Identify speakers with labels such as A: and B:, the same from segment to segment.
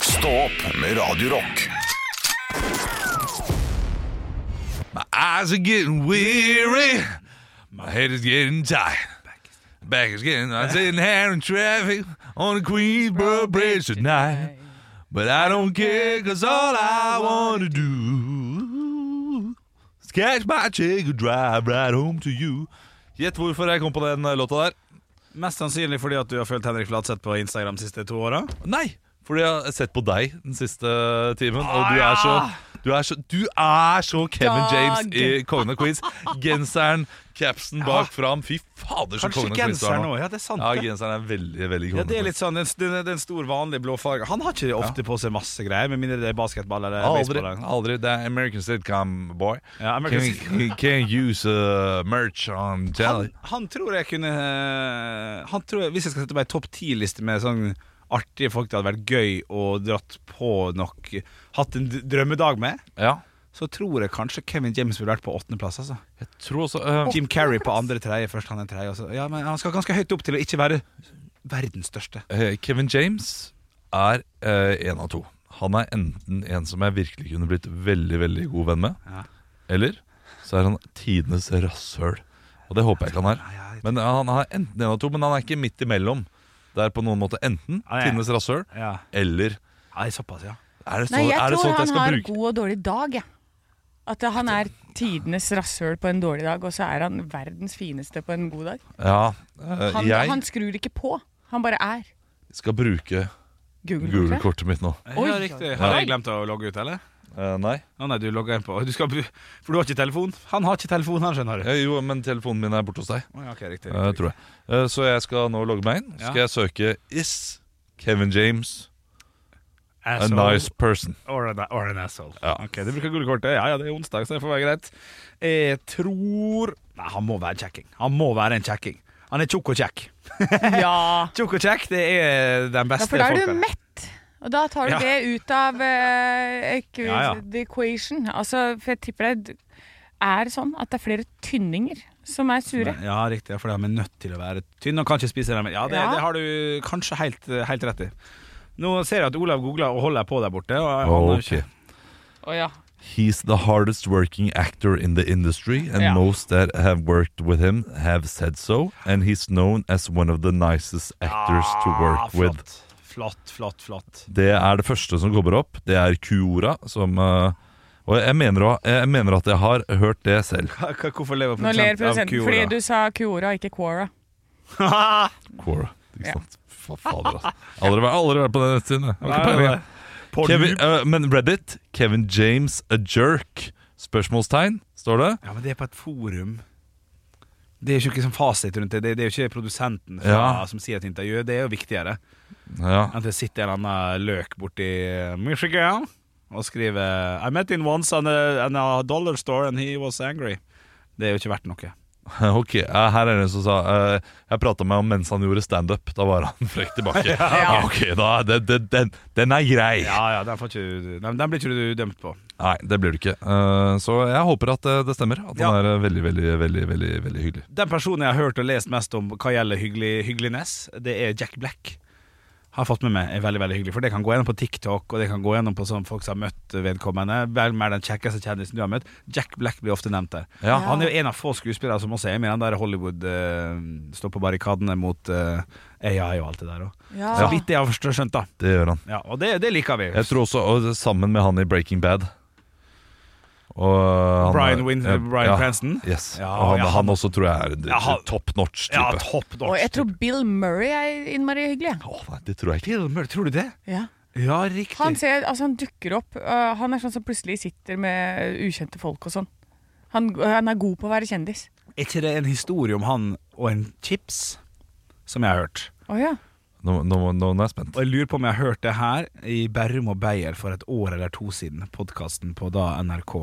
A: Stå opp med Radio Rock.
B: My eyes are getting weary. My head is getting tired. Back is getting. I'm sitting here in traffic on the Queensboro Bridge tonight. But I don't care, cause all I want to do is catch my chick and drive right home to you. Gjett hvorfor jeg kom på den eh, låta der.
C: Mest sannsynlig fordi at du har fulgt Henrik Flatseth på Instagram de siste to åra.
B: Nei, fordi jeg har sett på deg den siste timen, og
C: Ah,
B: du er så du er, så, du er så Kevin James i Kongen av Queens. Genseren, capsen bak fram. Fy fader, så
C: Kanskje
B: Kongen av Queens du er
C: genser
B: nå.
C: nå. Ja, det er sant.
B: Ja,
C: det.
B: genseren er veldig, veldig
C: Ja,
B: kongen.
C: det er litt sånn, det er en- det er en stor vanlig blå farge Han har ikke ofte på seg masse greier Med mindre det er basketball eller
B: Aldri,
C: baseball eller-
B: aldri. Det er American sitcom, boy.
C: Ja, American
B: can, can, can use uh, merch on
C: han,
B: telly.
C: han tror jeg kunne eh, han tror jeg, Hvis jeg skal sette på en topp 10-liste Med sånn artige folk det hadde vært gøy Og dratt på nok Hatt en d- drømmedag med
B: Ja.
C: Så tror jeg kanskje Kevin James ville vært på åttende plass altså.
B: Jeg tror også uh,
C: Jim Carrey på andre treie Først han er treie og så- ja, men Han skal ganske høyt opp til å ikke være verdens største
B: Eh, Kevin James er eh, en av to. Han er enten en som jeg virkelig kunne blitt veldig veldig god venn med,
C: Ja.
B: eller så er han tidenes rasshøl. Og det håper jeg ikke han er.
C: Nei, jeg-
B: Men eh, Han er enten en av to, men han er ikke midt imellom. Det er på noen måte enten
C: Nei.
B: tidenes rasshøl
C: Ah, Ja,
B: eller
C: Nei, såpass, ja
B: Er det så,
D: Nei, jeg
B: er det
D: tror
B: sånt jeg
D: han
B: skal
D: har
B: bruke
D: god og dårlig dag, jeg. At han er tidenes rasshøl på en dårlig dag, og så er han verdens fineste på en god dag.
B: Ja, eh,
D: Han,
B: Jeg
D: han skrur ikke på, han bare er.
B: skal bruke
D: Google-kortet.
B: Google-kortet mitt nå.
C: Ja,
D: Oi.
C: riktig Har jeg glemt å logge ut, eller?
B: Eh, nei.
C: Å nei, du logger inn på du skal, bru- For du har ikke telefon? Han har ikke telefon, han skjønner du.
B: Ja, Eh, jo, men telefonen min er borte hos deg.
C: Å, ja, ok, riktig,
B: Eh,
C: riktig.
B: tror jeg. Eh, så jeg skal nå logge meg inn. Så skal
C: Ja.
B: jeg søke 'Is Kevin James a
C: Asshole
B: nice person'?
C: or an, or an asshole.
B: Ja.
C: Ok, Du bruker gullkortet? Ja ja, det er onsdag, så det får være greit. Jeg tror Nei, han må være en kjekking. Han må være en kjekking. Han er tjukk og kjekk.
D: Ja.
C: Tjukk og kjekk, det er den
D: ja,
C: beste
D: for da er
C: folka.
D: du mett. Og da tar du
C: Ja.
D: det ut av eh, equ-
C: Ja, ja.
D: the equation. Altså, for jeg tipper det er sånn at det er flere tynninger som er sure.
C: Ja, riktig. ja, For de er nødt til å være tynne og kan ikke spise dem. Ja, det,
D: Ja.
C: det har du kanskje helt, helt rett i. Nå ser jeg at Olav googler og holder på der borte. Og han har jo ikke-
B: Ok.
D: Å ja.
B: He's the hardest working actor in the industry, and
D: Ja.
B: most that have worked with him have said so. And he's known as one of the nicest actors to
C: Ah,
B: work with.
C: flott. Flott, flott, flott.
B: Det er det første som kommer opp. Det er Q-orda, som eh, Og jeg mener, å- jeg mener at jeg har hørt det selv.
C: Hva- hva- Hvorfor lever
D: Nå
C: prosenten
D: ler
C: av
D: prosenten fordi
C: Q-orda?
D: du sa Q-orda, ikke Quora.
B: Quora. Ikke
D: Ja.
B: sant? Fa- Fader, altså. Aldri vært- aldri vært på den nettsiden. jeg. Har ikke
C: Nei,
B: peiling.
C: nei. Pornhub.
B: Kevin, eh, men Reddit Kevin James a jerk Spørsmålstegn, står det
C: Ja, men det er på et forum. Det er jo ikke sånn fasit rundt det. Det det er jo ikke produsenten fra,
B: Ja.
C: som sier et intervju. Det er jo viktigere.
B: Ja,
C: Enn at det sitter en annen løk borti Michigan og skriver I met him once on a, on a dollar store and he was angry. Det er jo ikke verdt noe.
B: ok eh, Her er det en som sa eh, Jeg pratet med ham mens han gjorde stand-up Da var han frekk tilbake ja. Ok, da, det, det, den, den er grei
C: Ja, ja, den, får ikke, den, den blir ikke du dømt på.
B: Nei, det blir det ikke Eh, Så jeg håper at eh, det stemmer At han
C: Ja.
B: er eh, veldig, veldig, veldig, veldig, veldig hyggelig
C: Den personen jeg har hørt og lest mest om hva gjelder hyggelig, hyggelignes, det er Jack Black. Har fått med meg er veldig veldig hyggelig. For det kan gå gjennom på TikTok, og det kan gå gjennom på sånn folk som har møtt vedkommende. Vel mer den kjekkeste kjendisen du har møtt. Jack Black blir ofte nevnt der.
B: Ja.
C: Han er jo en av få skuespillere som også er med i den der Hollywood uh, står på barrikadene mot eh, AI og alt det der òg.
D: Ja.
C: Så vidt jeg har forstå- skjønt, da.
B: Det gjør han
C: Ja, og det, det liker vi.
B: Jeg tror også, og det- sammen med han i Breaking Bad og han- eh,
C: Brian, Win
B: ja,
C: Brian
B: ja,
C: Cranston.
B: Yes,
C: Ja,
B: og han,
C: ja, han-
B: han også tror jeg er en
C: Ja, han-
B: top notch type
C: Ja, topp
D: Og
C: notch.
D: jeg tror Bill Murray er innmari hyggelig. jeg.
B: Åh, nei, det tror jeg ikke
C: Bill Murray, tror du det?
D: Ja.
C: Ja, riktig.
D: Han, ser, altså, han dukker opp. øh, han er sånn som plutselig sitter med ukjente folk og sånn. Han, han er god på å være kjendis.
C: Er ikke det en historie om han og en chips? Som jeg har hørt.
D: Å ja.
B: Nå, nå, nå er jeg spent
C: Og jeg lurer på om jeg har hørt det her i Berrum og Beyer for et år eller to siden. Podkasten på da NRK.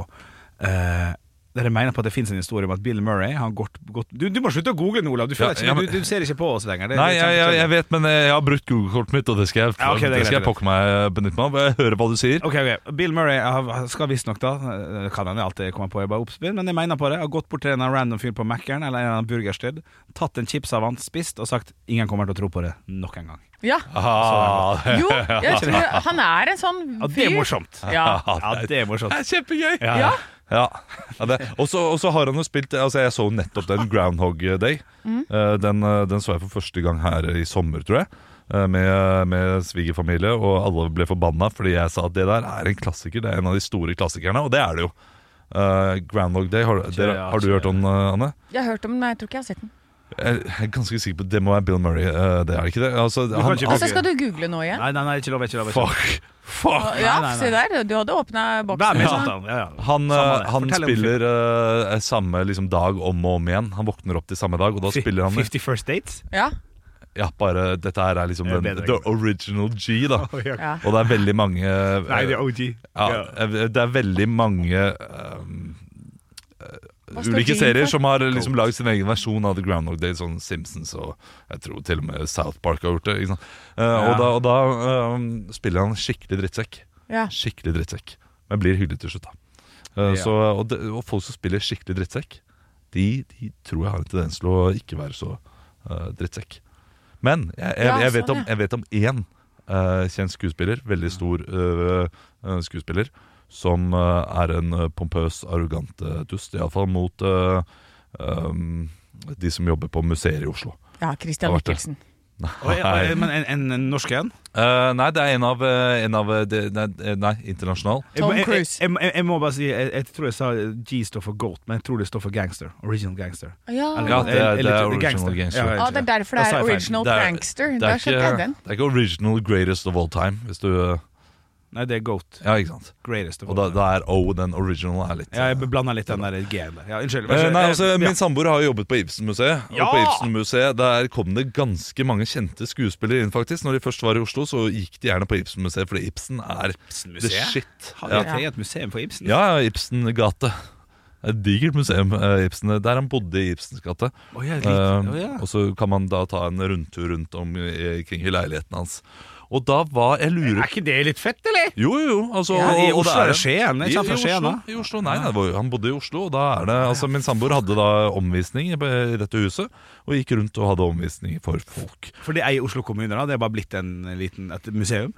C: Eh, der jeg mener på at det fins en historie om at Bill Murray har gått, gått du, du må slutte å google nå, Olav. Du, føler
B: Ja,
C: ikke,
B: ja, men-
C: du, du ser ikke på oss lenger. Det-
B: Nei, jeg,
C: det er
B: jeg, jeg
C: kjempekjedelig.
B: vet, men eh, jeg har brukt Google-kortet mitt Og det skal jeg,
C: Ja, ok, det er
B: det skal
C: greit,
B: jeg pokke meg eh, benytte meg av Jeg hører hva du sier
C: Ok, ok, Bill Murray har- skal visstnok da eh, Kan han jo alltid komme på, jeg bare oppspinn Men jeg mener på det, har gått bort til en random fyr på Mac'eren Eller en eller annen burgersted Tatt en chips av han, spist og sagt Ingen kommer til å tro på det nok en gang
D: Ja.
B: Ah, det-
D: Jo, jeg tror han er en sånn
C: Ja, det
D: fyr.
C: er morsomt.
D: Ja.
C: Ja, det er morsomt.
B: Det er kjempegøy!
C: Ja.
D: Ja.
B: Ja, ja det. Og så og så har han jo spilt Altså Jeg så jo nettopp den Groundhog Day. Eh, Den, eh, den så jeg for første gang her i sommer, tror jeg. eh, Med, med svigerfamilie, og alle ble forbanna fordi jeg sa at det der er en klassiker. Det er en av de store klassikerne, og det er det jo. Eh, Groundhog Day, har, dere,
C: ja,
B: har du
C: ikke-
B: hørt om den, eh, Anne?
D: Jeg har hørt om den, men jeg tror ikke jeg har sett den.
B: Jeg er ganske sikker på Det må være Bill Murray, eh, det er det ikke det? Altså,
C: kan
B: han,
C: ikke
B: han,
C: bruke-
D: Altså, skal du google nå igjen?
C: Nei, nei, nei, ikke lov, ikke lov. Ikke lov.
B: fuck! Fuck!
D: Ja,
C: nei, nei.
D: se der. Du hadde åpna
C: Vær
D: boksen.
C: med,
D: Ja.
C: Satan. Ja, ja.
B: Han,
C: Samme
B: eh,
C: det.
B: han
C: Fortell om
B: spiller eh, samme liksom, dag om og om igjen. Han våkner opp til samme dag, og da
C: fi-
B: spiller han
C: 50 First Dates?
D: Ja.
B: Ja, bare dette her er liksom
C: Det er
B: den,
C: bedre,
B: the
C: ikke
B: original G, da.
D: ja.
B: Og det er veldig mange eh,
C: Nei, det er OG.
B: ja,
C: Ja.
B: eh, Det er veldig mange ehm,
D: Hva står G
B: ulike
D: for?
B: serier som har eh, liksom laget sin egen versjon av The Groundhog Day, sånn Simpsons og jeg tror til og med South Park har gjort det. Ikke sant? Eh,
C: Ja.
B: Og da, og da ehm, spiller han skikkelig drittsekk.
D: Ja.
B: Skikkelig drittsekk. Men blir hyggelig til slutt, da. Eh,
C: Ja.
B: så, og, det, og folk som spiller skikkelig drittsekk, de, de tror jeg har en tendens til å ikke være så eh, drittsekk. Men jeg, jeg,
D: Ja,
B: jeg,
D: sånn,
B: vet om,
D: ja.
B: jeg vet om én eh, kjent skuespiller, veldig stor eh, eh, skuespiller, som eh, er en eh, pompøs, arrogant uh, dust, iallfall mot eh, um, de som jobber på museer i Oslo.
D: ja, Christian
B: Har vært det.
D: Michelsen.
C: Oi, oi, men en, en, en norsk en?
B: Eh, nei, det er en av, eh, en av eh, det- nei, eh, nei, internasjonal.
C: Jeg må-
D: Tom
C: jeg-
D: Cruise.
C: Jeg, jeg, jeg må bare si, jeg, jeg tror jeg sa G står for goat, men jeg tror det står for gangster. Original gangster.
D: Ja.
B: Ja, det er- det er original gangster.
C: Ja,
D: Ja, det er derfor det
C: Da sa
D: er
C: jeg feil.
D: original
B: Det er-
D: prankster.
B: Det
D: Da
B: er,
D: skjønte jeg
B: ikke,
D: den.
B: det er ikke original greatest of all time. Hvis du, eh,
C: Nei, det er goat.
B: ja, ikke sant?
C: Greatest of
B: Og da,
C: all time.
B: da er O, den original, er litt
C: Ja, jeg blanda litt den der G-en der. Ja, unnskyld.
B: Eh, nei, altså,
C: Ja.
B: Min samboer har jo jobbet på Ibsen-museet. Og på Ibsen-museet Der kom det ganske mange kjente skuespillere inn. faktisk Når de først var i Oslo, så gikk de gjerne på Ibsen-museet, fordi Ibsen er the
C: Ibsen-museet?
B: shit.
C: Har vi
B: Ja,
C: et eget museum for Ibsen?
B: ja ja, Ibsen-gate. Et digert museum, eh, Ibsen, der han bodde i Ibsens gate.
C: Å, ja, litt.
B: Eh,
C: Å, ja.
B: Og så kan man da ta en rundtur rundt om i- kring i leiligheten hans. Og da var Jeg lurer
C: Er ikke det litt fett, eller?
B: Jo, jo, jo. Altså,
C: Ja, i
B: og- og det
C: Oslo er det
B: en-
C: Skien, ikke sant? Fra
B: I, i,
C: Skien,
B: Oslo,
C: da?
B: I Oslo, nei, nei det var, jo- han bodde i Oslo. Og da er det, altså, min samboer hadde da omvisning i i dette huset, og gikk rundt og hadde omvisning for folk.
C: For det er i Oslo kommune, da. Det er bare blitt en liten, et museum.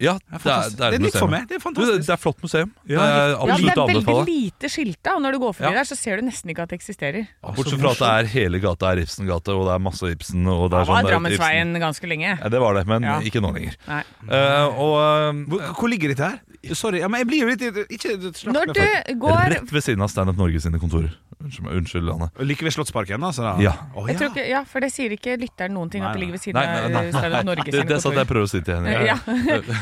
B: Ja, det er,
C: fantastisk. Det er
B: et
C: nytt for
B: museum.
C: meg.
B: Du,
C: Det er
B: det,
C: fantastisk.
B: det er flott museum.
C: Ja.
B: det er
D: Ja, det
B: absolutt å
D: er veldig
B: anbefale.
D: lite skilta, og når du går
B: Ja.
D: forbi der, så ser du nesten ikke at det eksisterer.
B: Bortsett fra at det er hele gata er Ibsen-gate, og det er masse Ibsen. Og det er
D: Det var
B: sånn,
C: eh,
B: det er et Ibsen.
D: Drammensveien ganske lenge.
B: Ja, det var det, men
D: Ja.
B: ikke nå lenger.
D: Nei.
B: Eh, og
C: Hvor, hvor ligger dette her? Sorry, ja, men jeg blir jo litt ikke, snakk
D: Når
C: med
D: du
C: folk.
B: eh,
D: går
B: rett ved siden av Stand Up Norge sine kontorer. Unnskyld, meg, unnskyld Anne.
C: Like ved Slottsparken, altså? Da.
B: Ja.
C: Å,
D: jeg
C: ja.
D: tror ikke, ja, for det sier ikke lytteren noen ting at
C: Nei,
D: det ligger ved siden
B: Nei, nei, nei,
D: av Stadion Norge
B: Det,
D: sine
C: sånn
B: det satt jeg
D: kontorer.
B: og prøvde å si til henne.
D: Ja.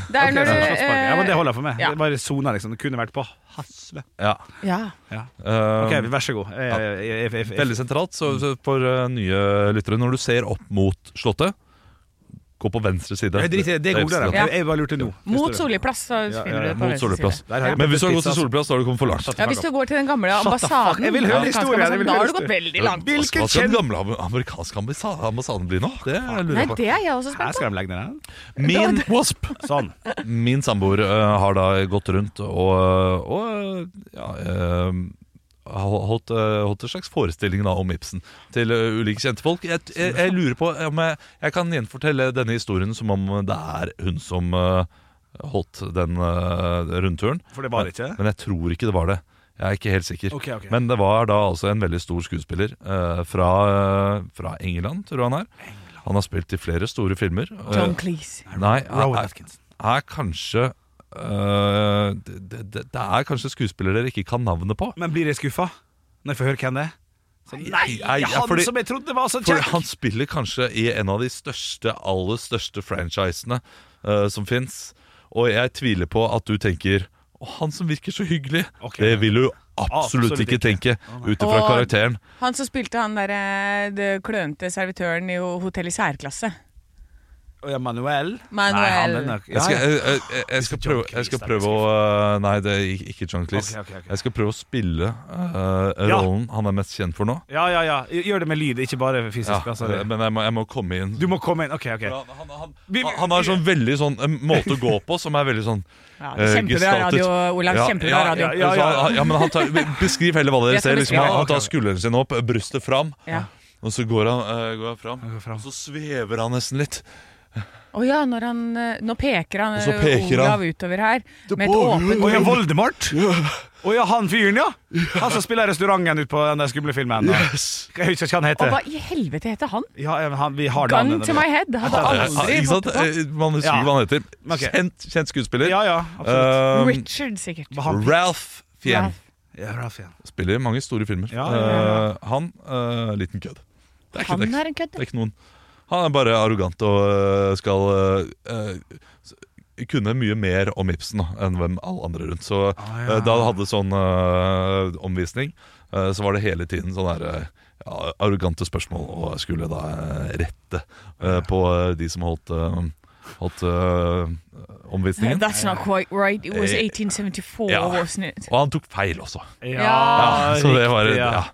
D: Det er når du
C: Slottsparken. Ja, men det
D: eh,
C: holder for meg.
D: ja.
C: Det er bare sona, liksom. Det kunne vært på Hasle.
B: Ja.
D: Ja.
C: Ja.
B: Eh,
C: Ok, vær så god. eh, Jeg, jeg, jeg, jeg, jeg,
B: Veldig sentralt så, så for eh, nye lyttere. Når du ser opp mot Slottet, gå på venstre side.
C: jeg driter eh, i det. Det
B: er
C: googler jeg.
D: Ja.
C: Jeg- Jeg bare lurte nå. Forstår
D: Mot
C: du?
D: Solliplass, så
C: ja,
D: finner
C: ja,
D: du det på
B: Mot
D: venstre
B: Solplass.
D: side.
C: Der har jeg
B: Men hvis
C: bestilt
B: du har gått til
C: pizza,
B: Solplass, da har du kommet for langt.
C: Shut the
D: Ja,
C: fuck
D: hvis du
C: up.
D: går til den gamle
C: Shut the fuck.
D: ambassaden
C: Jeg vil høre
D: den amerikanske
C: historien, jeg
D: ambassaden,
C: vil
D: Da
C: høre
D: har du gått veldig langt.
B: Hva skal- hva skal
C: kjent-
B: den gamle am- amerikanske ambassa- ambassaden bli nå? Det lurer
D: Nei,
B: jeg på.
D: det er jeg
C: Her
D: også spent på.
C: skal de legge ned den.
B: Min, wasp,
C: Sånn.
B: min samboer eh, har da gått rundt og, og ja, eh, hol- holdt, eh, holdt en slags forestilling da, om Ibsen til eh, ulike kjente folk. Jeg, jeg, jeg lurer på om jeg, jeg kan gjenfortelle denne historien som om det er hun som eh, holdt den eh, rundturen.
C: For det var det ikke?
B: Men jeg tror ikke det var det. Jeg er ikke helt sikker.
C: Ok, ok.
B: Men det var da altså en veldig stor skuespiller eh, fra, eh, fra England, tror jeg han er. Han har spilt i flere store filmer.
D: John
B: Eh,
D: Cleese.
B: Nei,
C: Rowan
B: er,
C: Atkinson.
B: er kanskje øh, det, det, det er kanskje skuespillere dere ikke kan navnet på.
C: Men blir jeg skuffa når jeg får høre hvem det er? Så, nei,
B: nei, ja,
C: han
B: fordi-
C: som jeg trodde var så
B: For
C: kjekk!
B: han spiller kanskje i en av de største, aller største franchisene øh, som fins. Og jeg tviler på at du tenker Å, han som virker så hyggelig.
C: Ok. Ah,
B: Det vil du absolutt,
C: Absolutt
B: ikke, tenke ut ifra
D: Og-
B: karakteren.
D: Han som spilte han derre det klønete servitøren i Hotell i særklasse.
C: Å, ja, Manuel.
D: Manuel.
C: Nei, han er nok ja,
B: Jeg skal,
C: ja.
B: jeg, jeg, jeg, jeg skal
C: John
B: prøve,
C: Cleese,
B: jeg skal
C: da,
B: prøve å øh, Nei, det er ikke- ikke John Cleese.
C: Ok, ok, ok.
B: Jeg skal prøve å spille øh,
C: Ja.
B: rollen han er mest kjent for nå.
C: ja, ja, ja. Gjør det med lyd, ikke bare fysisk.
B: Ja,
C: altså, det.
B: men jeg må, jeg må komme inn.
C: Du må komme inn. Ok, ok.
B: Ja, han, han,
C: Vi-
B: han, han har sånn veldig sånn en måte å gå på som er veldig sånn
D: Ja,
B: eh,
D: kjempebra
B: gestaltet.
D: radio, Olav.
B: Ja,
D: Kjempebra radio.
B: Ja, ja, ja. ja, men han tar, Beskriv heller hva dere
D: Jeg skal
B: ser. Liksom,
D: beskrive.
B: han, han tar skulderen sin opp, brystet fram,
D: Ja.
B: og så går han, eh, går han fram.
C: Jeg går fram.
B: Og så svever han nesten litt.
D: Å ja, når, han, eh, nå peker han
B: Og så
D: eh,
B: peker han.
D: Olav utover her med et
B: på-
D: åpent
C: Å ja, Voldemort? Å ja, han fyren, ja! Han som spiller restauranten ut på den der skumle filmen. da.
B: Yes.
C: Jeg husker ikke hva han
D: Og
C: heter.
D: hva i helvete heter han?
C: Ja, ja, men han, vi har
D: Gun
C: navnet.
D: to my head. Hadde
B: Ja,
D: aldri
B: ikke sant?
D: fått det.
B: Eh, Man husker
C: Ja.
B: hva han heter.
C: Ok.
B: Kjent, kjent skuespiller.
C: Ja, ja, absolutt.
B: Um,
D: Richard, sikkert.
C: Hva han-
B: Ralph Fien.
D: Ralph.
B: Eh,
C: Ja, Ralph, ja.
B: Spiller mange store filmer.
C: Ja, ja, ja,
B: Eh, han uh, liten kødd. Det er ikke, det
D: Han
B: er ikke,
D: er en kødd.
B: det er ikke noen. Han er bare arrogant og eh, skal eh, eh, s- kunne mye mer om Ibsen da, enn hvem alle andre rundt. Så
C: Ah, ja.
B: eh, da han hadde sånn eh, omvisning, eh, så var det hele tiden sånn her eh, ja, arrogante spørsmål, og jeg skulle da eh, rette eh, på eh, de som holdt, eh, holdt eh, omvisningen.
D: That's not quite right. It was 1874,
B: Eh, Ja.
D: wasn't it?
B: Og han tok feil også.
D: Ja,
B: Ja, så det var,
C: Ah, riktig, ja.
B: ja.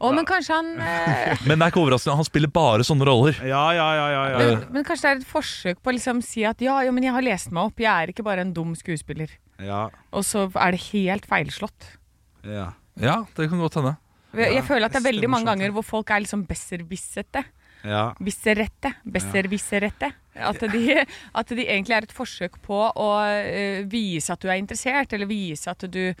D: Å, men kanskje han eh,
B: Men det er ikke overraskende, han spiller bare sånne roller.
C: Ja, ja, ja, ja, ja.
D: men, men kanskje det er et forsøk på å liksom si at ja, jo, men jeg har lest meg opp, jeg er ikke bare en dum skuespiller.
C: ja,
D: Og så er det helt feilslått.
C: ja.
B: Ja, det kan godt hende.
D: Jeg jeg føler at det
C: det
D: er
C: er
D: veldig mange
C: morsomt,
D: ganger hvor folk er liksom besserwissete.
C: ja.
D: Bisserette. Besservisserette. At, de- at de egentlig er et forsøk på å eh, vise at du er interessert, eller vise at du,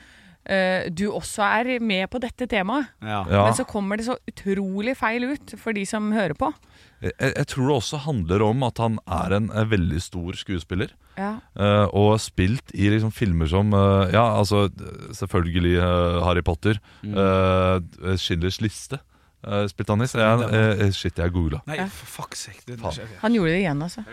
D: eh, du også er med på dette temaet.
C: ja.
B: Ja.
D: Men så kommer det så utrolig feil ut for de som hører på.
B: Jeg, jeg tror det også handler om at han er en, eh, veldig stor skuespiller.
D: Ja.
B: eh, og har spilt i liksom filmer som eh, Ja, altså d- selvfølgelig eh, Harry Potter.
C: Mm.
B: eh, Schindlers liste eh, spilte han i. Så jeg, eh, shit, jeg googla.
C: Nei, for fuck's sake. Det,
B: Faen.
C: skjer ikke.
D: Han gjorde det igjen, altså.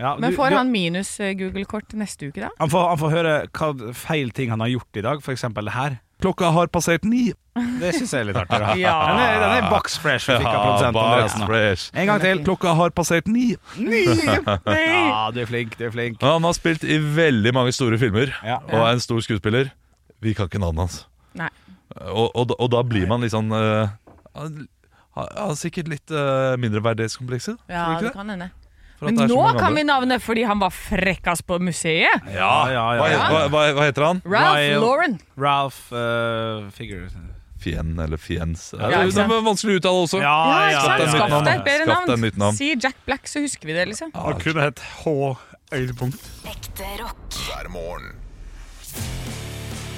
C: Ja,
D: Men
C: du-
D: får
C: du-
D: han minus eh, Google-kort neste uke, da?
C: han får, han får høre hva feil ting han har gjort i dag, for eksempel det her.
B: Klokka har passert ni.
C: Det syns jeg er litt artig. da.
D: Ja.
C: Den er, den er box fresh. Vi fikk av produsenten
B: Bugs
C: Andreasen, da.
B: Fresh.
C: En gang til.
B: Klokka har passert ni.
C: Ja, du er flink, du er flink.
B: Ja, han har spilt i veldig mange store filmer
C: Ja.
B: og er en stor skuespiller. Vi kan ikke navnet hans. Eh,
D: Nei.
B: Og, og, da- og da blir man litt sånn eh, han- han har sikkert litt uh, mindreverdighetskomplekser.
D: Ja,
B: tror du
D: det
B: ikke det?
D: kan hende.
B: For at
D: Men
B: det er så
D: nå
B: mange
D: kan
B: andre.
D: vi navnet fordi han var frekkas på museet!
B: ja.
C: Ja, ja,
B: Hva,
C: ja.
B: hva, hva, hva heter han?
D: Ralph
C: Ryle.
D: Lauren.
C: Ralph uh, Figure.
B: Fien eller Fiens.
D: Ja, ikke
B: det, det
D: sant?
B: var vanskelig å uttale også.
D: Ja, ikke
B: Skaff deg
D: sant?
B: et nytt
D: Skaff
B: navn,
D: deg et bedre
B: Skaff deg et
D: navn.
B: nytt navn.
D: Si Jack Black, så husker vi det, liksom.
C: Han kunne hett H. Øydepunkt.
E: Ekte rock.
A: hver morgen.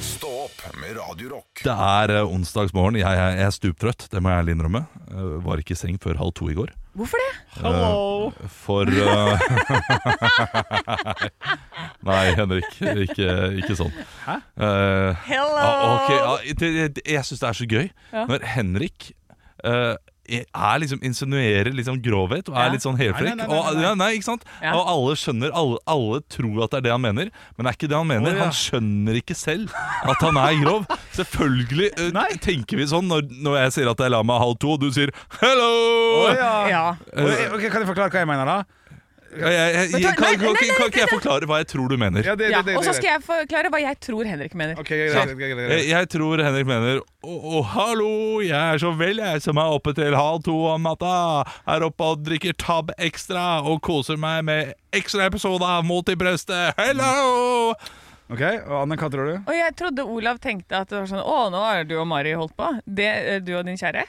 A: Stå opp med Radio Rock.
B: Det er eh, onsdagsmorgen. Jeg, jeg, jeg er stuptrøtt, det må jeg ærlig innrømme. Eh, var ikke i seng før halv to i går.
D: Hvorfor det?
B: Eh,
C: Hello.
B: For eh, Nei, Henrik. Ikke, ikke sånn. Eh, Hæ? Ja,
D: Hello!
B: Ah, ok, ja, det, det, jeg syns det er så gøy
D: Ja.
B: når Henrik eh, er liksom, insinuerer litt sånn grovhet og er
D: Ja.
B: litt sånn helfrekk.
C: Nei, nei, nei,
B: Og,
C: nei, nei.
B: ja, nei, ikke sant?
D: Ja.
B: og alle skjønner alle, alle tror at det er det han mener, men det er ikke det han mener.
C: Å, ja.
B: Han skjønner ikke selv at han er grov. Selvfølgelig eh, tenker vi sånn når, når jeg sier at jeg la meg halv to, og du sier 'hello'.
C: ja.
D: Ja.
C: Og- ok, kan jeg forklare hva jeg mener, da?
B: Jeg, jeg, jeg,
D: Men ta-
B: kan,
D: nei,
B: kan,
D: nei, nei,
B: kan ikke jeg forklare hva jeg tror du mener?
C: Ja, det,
D: Ja, og så skal jeg forklare hva jeg tror Henrik mener.
C: Ok, greit, greit, greit,
B: Jeg,
C: greit.
B: Eh, jeg tror Henrik mener Å, å, hallo, jeg er så vel jeg som er oppe til halv to om natta Er oppe og drikker tab ekstra Og koser meg med ekstra episode av Mot i brøstet Hello!
C: Ok, og Anne, hva tror du?
D: Og jeg trodde Olav tenkte at det var sånn Å, nå har du og Mari holdt på. Det, eh, du og din kjære.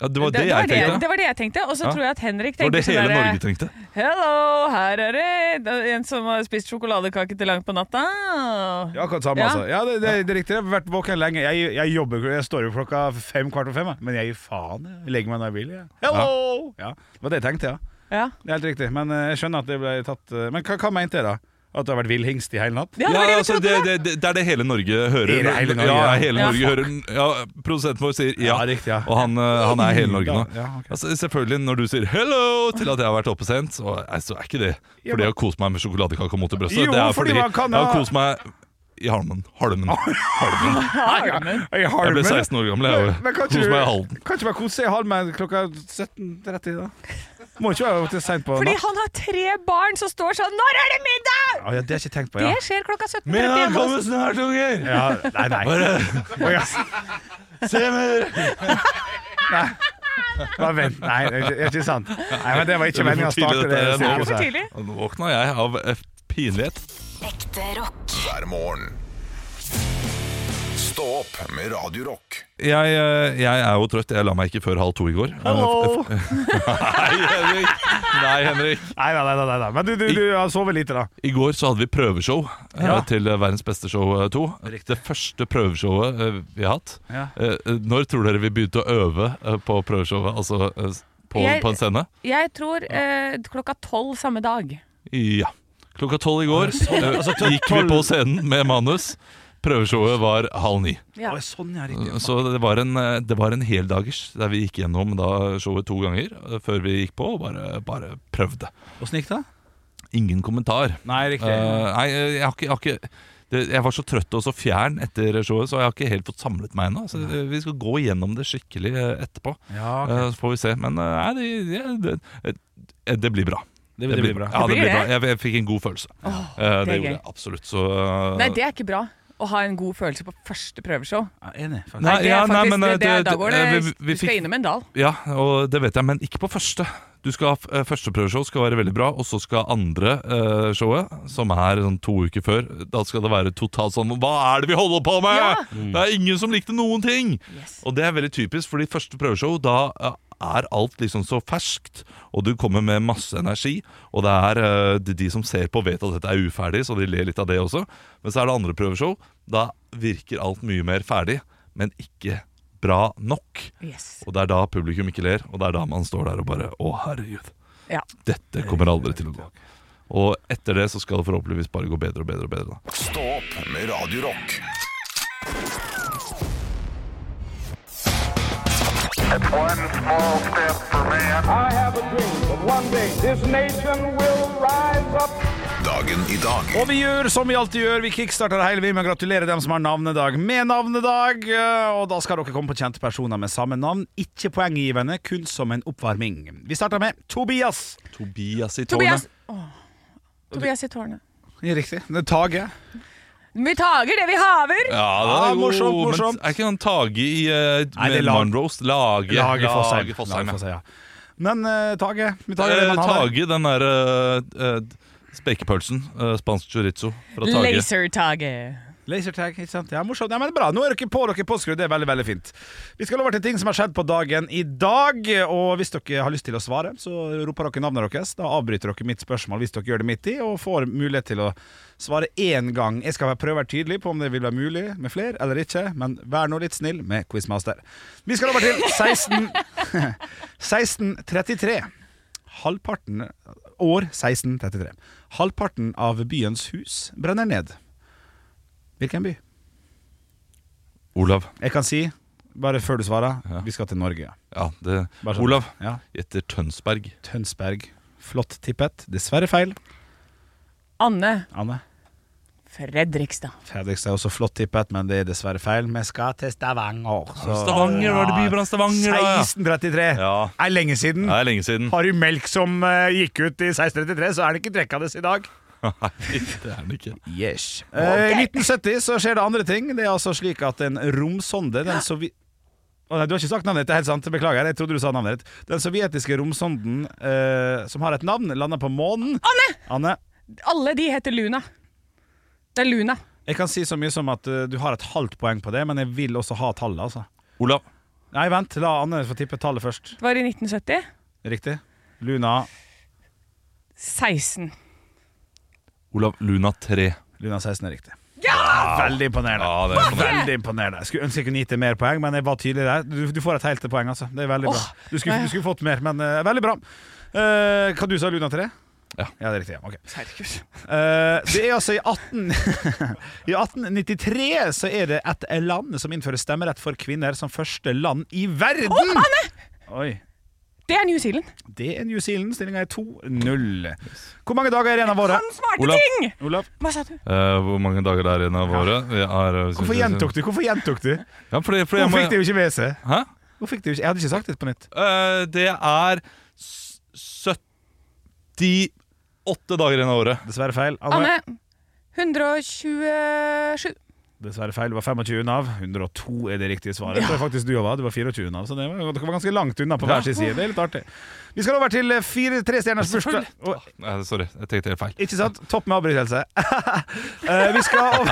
B: Ja, det var det, jeg
D: det,
B: tenkte
D: det var det jeg tenkte. Og så
B: Ja.
D: tror jeg at Henrik
B: Det var
D: tenkte
B: det hele
D: sånn der,
B: Norge tenkte
D: Hello, her er det det er en som har spist sjokoladekake til langt på natta.
C: Ja, akkurat samme,
D: Ja.
C: altså. Ja, det, det, det er riktig. Jeg har vært våken lenge. Jeg, jeg jobber Jeg står jo klokka fem, kvart på fem, jeg. men jeg gir faen. Jeg legger meg når jeg vil. Jeg. Hello! Ja. Det var det jeg tenkte, ja.
D: Ja.
C: Det er helt riktig. Men eh, jeg skjønner at det ble tatt eh, Men hva, hva mente jeg, da? At det har vært villhingst i hele natt?
D: Ja, det var det jeg
B: altså,
D: trodde.
B: det, det, det, det er det hele Norge hører
C: Det er det hele Norge,
B: Ja,
C: ja.
B: hele
D: Ja,
B: Norge hører ja, Produsenten vår sier ja,
C: Ja, riktig, ja.
B: Og han, eh, han er hele Norge nå
C: Ja, ok.
B: altså, Selvfølgelig når du sier hello til at jeg har vært oppe sent Så altså, er ikke det
C: Ja,
B: Fordi jeg har kost meg med sjokoladekake og mot i brøstet
C: Jo,
B: Det er
C: fordi
B: fordi
C: man kan
B: jeg har
C: ha-
B: kost meg i halmen Halmen
D: Armen.
C: I
B: Jeg
C: Halmen?
B: ble 16 år gammel jeg, og
C: Men kan ikke
B: Kost
C: du
B: meg i halmen
C: kan ikke bare kose seg i Halmen klokka 17.30, da? Må ikke være til seint på
D: Fordi
C: natt.
D: han har tre barn som står sånn Når er det middag?!
C: Ja, ja, det har jeg ikke tenkt på,
D: Det
C: ja.
D: skjer klokka 17.30 hjemme hos
B: snart, unger
C: ja nei, nei. Å, ja.
B: Se med
C: Bare vent. Nei, det er ikke sant. Nei, men Det var
B: Det er
C: ikke
B: for
C: meningen å starte
B: tidlig,
C: det
B: dette er
D: Det er
C: sirkuset
D: for
C: her.
D: tidlig.
B: dere Nå våkna jeg av eh, pinlighet
E: Ekte rock.
A: hver morgen. Stå opp med Radio Rock.
B: jeg, eh, jeg er jo trøtt. Jeg la meg ikke før halv to i går. Eh,
C: Hello.
B: Nei, Henrik. Nei, Henrik.
C: Nei, nei, nei, nei, nei. Men du, du, du har sovet lite, da.
B: I går så hadde vi prøveshow eh,
C: Ja.
B: til eh, Verdens beste show 2. Det første prøveshowet eh, vi har hatt.
C: Ja.
B: Eh, eh, Når tror dere vi begynte å øve eh, på prøveshowet? Altså eh, s- på,
D: Jeg-
B: på en scene?
D: Jeg tror eh, klokka tolv samme dag.
B: Ja. Klokka tolv i går eh, gikk vi på scenen med manus. Prøveshowet var halv ni.
D: Ja.
C: Oi, sånn, ja, riktig.
B: Så det var en, eh, det var en heldagers der vi gikk gjennom da showet to ganger eh, før vi gikk på og bare, bare prøvde.
C: Åssen gikk det?
B: Ingen kommentar.
C: Nei, riktig.
B: Eh, nei, eh, jeg har ikke, jeg, har ikke det, jeg var så trøtt og så fjern etter showet, så jeg har ikke helt fått samlet meg ennå. Så eh, vi skal gå gjennom det skikkelig eh, etterpå,
C: ja, ok.
B: Eh, så får vi se. Men eh, nei, det, det, det, eh, det blir bra.
C: det, det, blir bra.
B: Ja, det
D: Det blir
B: blir bra.
D: det.
B: Jeg, jeg fikk en god følelse.
D: Åh,
B: Eh, det,
D: det er
B: gjorde
D: gøy.
B: jeg absolutt. Så eh,
D: Nei, det er ikke bra. Å ha en god følelse på første prøveshow.
C: Ja, enig, faktisk.
B: Nei,
D: Nei, det
B: ja,
D: er
B: nei,
D: faktisk,
B: men,
D: det, det,
B: det-
D: da går det,
B: det- eh, vi- vi
D: Du skal
B: fikk-
D: innom en dal.
B: Ja, og det vet jeg, men ikke på første. Du skal, ha- eh, første prøveshow skal være veldig bra, og så skal andre eh, showet, som er sånn to uker før, da skal det være totalt sånn Hva er det vi holder på med?!
D: Ja.
B: Det er ingen som likte noen ting!
D: Yes.
B: Og det er veldig typisk, fordi første prøveshow, da eh, er alt liksom så ferskt, og du kommer med masse energi, og det er eh, de, de som ser på vet at dette er uferdig, så de ler litt av det også. Men så er det andre prøveshow, da virker alt mye mer ferdig, men ikke bra nok.
D: Yes.
B: Og det er da publikum ikke ler, og det er da man står der og bare Å, herregud.
D: Ja.
B: Dette kommer aldri til å gå. Og etter det så skal det forhåpentligvis bare gå bedre og bedre og bedre. da.
A: Stå opp med Radio Rock.
E: One small step for man.
F: I have a dream that one day this nation will rise up.
A: Dagen i dag.
C: Og vi gjør som vi alltid gjør, vi kickstarter det hele vi med å gratulere dem som har navnedag med navnedag. eh, Og da skal dere komme på kjente personer med samme navn. Ikke poenggivende, kun som en oppvarming. Vi starter med Tobias.
B: Tobias i
D: Tobias Åh. Tobias i tårnet.
C: Riktig. Det er Tage.
D: Vi tager det vi haver!
B: Ja, det er
C: Ah,
B: jo-
C: morsomt,
B: men
C: morsomt.
B: Er ikke han Tage i eh,
C: Nei, det er
B: med
C: lag-
B: Monroes? Lage,
C: Lage Fosheim.
B: Lage Fosheim, ja.
C: Lage Fosheim, ja. Men eh, Tage vi tar det
B: Eh,
C: man har der.
B: Tage, den der eh, eh, spekepølsen. eh, spansk chorizo fra Tage.
D: Lasertage.
C: Lasertag, ikke sant? Ja, morsomt. Ja, men det er bra. Nå er dere på dere påskrudd. Det er veldig, veldig fint. Vi skal over til ting som har skjedd på dagen i dag. Og hvis dere har lyst til å svare, så roper dere navnet deres. Da avbryter dere mitt spørsmål hvis dere gjør det midt i, og får mulighet til å svare én gang. Jeg skal være- prøve å være tydelig på om det vil være mulig med flere eller ikke, men vær nå litt snill med quizmaster. Vi skal over til 16 1633. Halvparten År 1633. Halvparten av byens hus brenner ned. Hvilken by?
B: Olav.
C: Jeg kan si, bare før du svarer, vi skal til Norge. ja.
B: Ja, det,
C: Bare sånn.
B: Olav
C: Ja.
B: gjetter Tønsberg.
C: Tønsberg. Flott tippet. Dessverre feil.
D: Anne
C: Anne.
D: Fredrikstad.
C: Fredrikstad er også flott tippet, men det er dessverre feil. Vi skal til Stavanger. Så-
B: Stavanger, var det bybrann Stavanger, da? Ja.
C: 1633.
B: Ja.
C: Er lenge siden.
B: Det er lenge siden.
C: Har du melk som eh, gikk ut i 1633, så er det ikke trekkende i dag.
B: Nei, det er den ikke.
C: Yes. Eh, I 1970 så skjer det andre ting. Det er altså slik at en romsonde den sovi Å nei, Du har ikke sagt navnet ditt, det er helt sant. Beklager. jeg trodde du sa navnet ditt Den sovjetiske romsonden eh, som har et navn, landa på månen. Anne!
D: Alle de heter Luna. Det er Luna.
C: Jeg kan si så mye som at eh, du har et halvt poeng på det, men jeg vil også ha tallet. altså
B: Olav.
C: Nei, vent. La Anne få tippe tallet først.
D: Det var i 1970.
C: Riktig. Luna
D: 16.
B: Olav Luna Eh, 3.
C: Luna 16 er riktig. Veldig imponerende.
B: Ja, det er imponerende.
C: Veldig imponerende. Skulle ønske jeg kunne gitt deg mer poeng, men jeg var tydelig der. Du, du får et helt poeng, altså. Det er veldig bra.
D: Åh,
C: Du skulle,
D: ja.
C: du skulle fått mer, men eh, veldig bra. Eh, hva du sa Luna 3?
B: Ja.
C: det er riktig. ja, ok
D: Herregud.
C: Eh, Det er altså i 18 I 1893 så er det et land som innfører stemmerett for kvinner som første land i verden. Oi.
D: Det er New Zealand.
C: Det er New Zealand. Stillinga er 2-0. Hvor mange dager er igjen av
D: Han
C: året?
D: smarte
B: Olav.
D: ting!
C: Olav,
D: Hva sa du?
B: Eh, hvor mange dager det er igjen av året? Vi er, eh,
C: hvorfor gjentok du? Hvorfor gjentok du?
B: Ja, fordi, fordi
C: Hun
B: jeg må,
C: fikk det jo ikke med seg.
B: Hæ?
C: Hun fikk det jo ikke. Jeg hadde ikke sagt det på nytt.
B: Eh, det er s- 78 dager igjen av året.
C: Dessverre feil.
D: Anne 127.
C: Dessverre feil. Det var 25 unna. 102 er det riktige svaret. Det var faktisk du Jova. Du var 24 unna. Så det var, dere var ganske langt unna på hver sin side. Det er litt artig. Vi skal over til eh, fire trestjerners bursdag. Og-
B: Nei, sorry, jeg tenkte helt feil.
C: Ikke sant? Topp med avbrytelse. Eh, vi skal over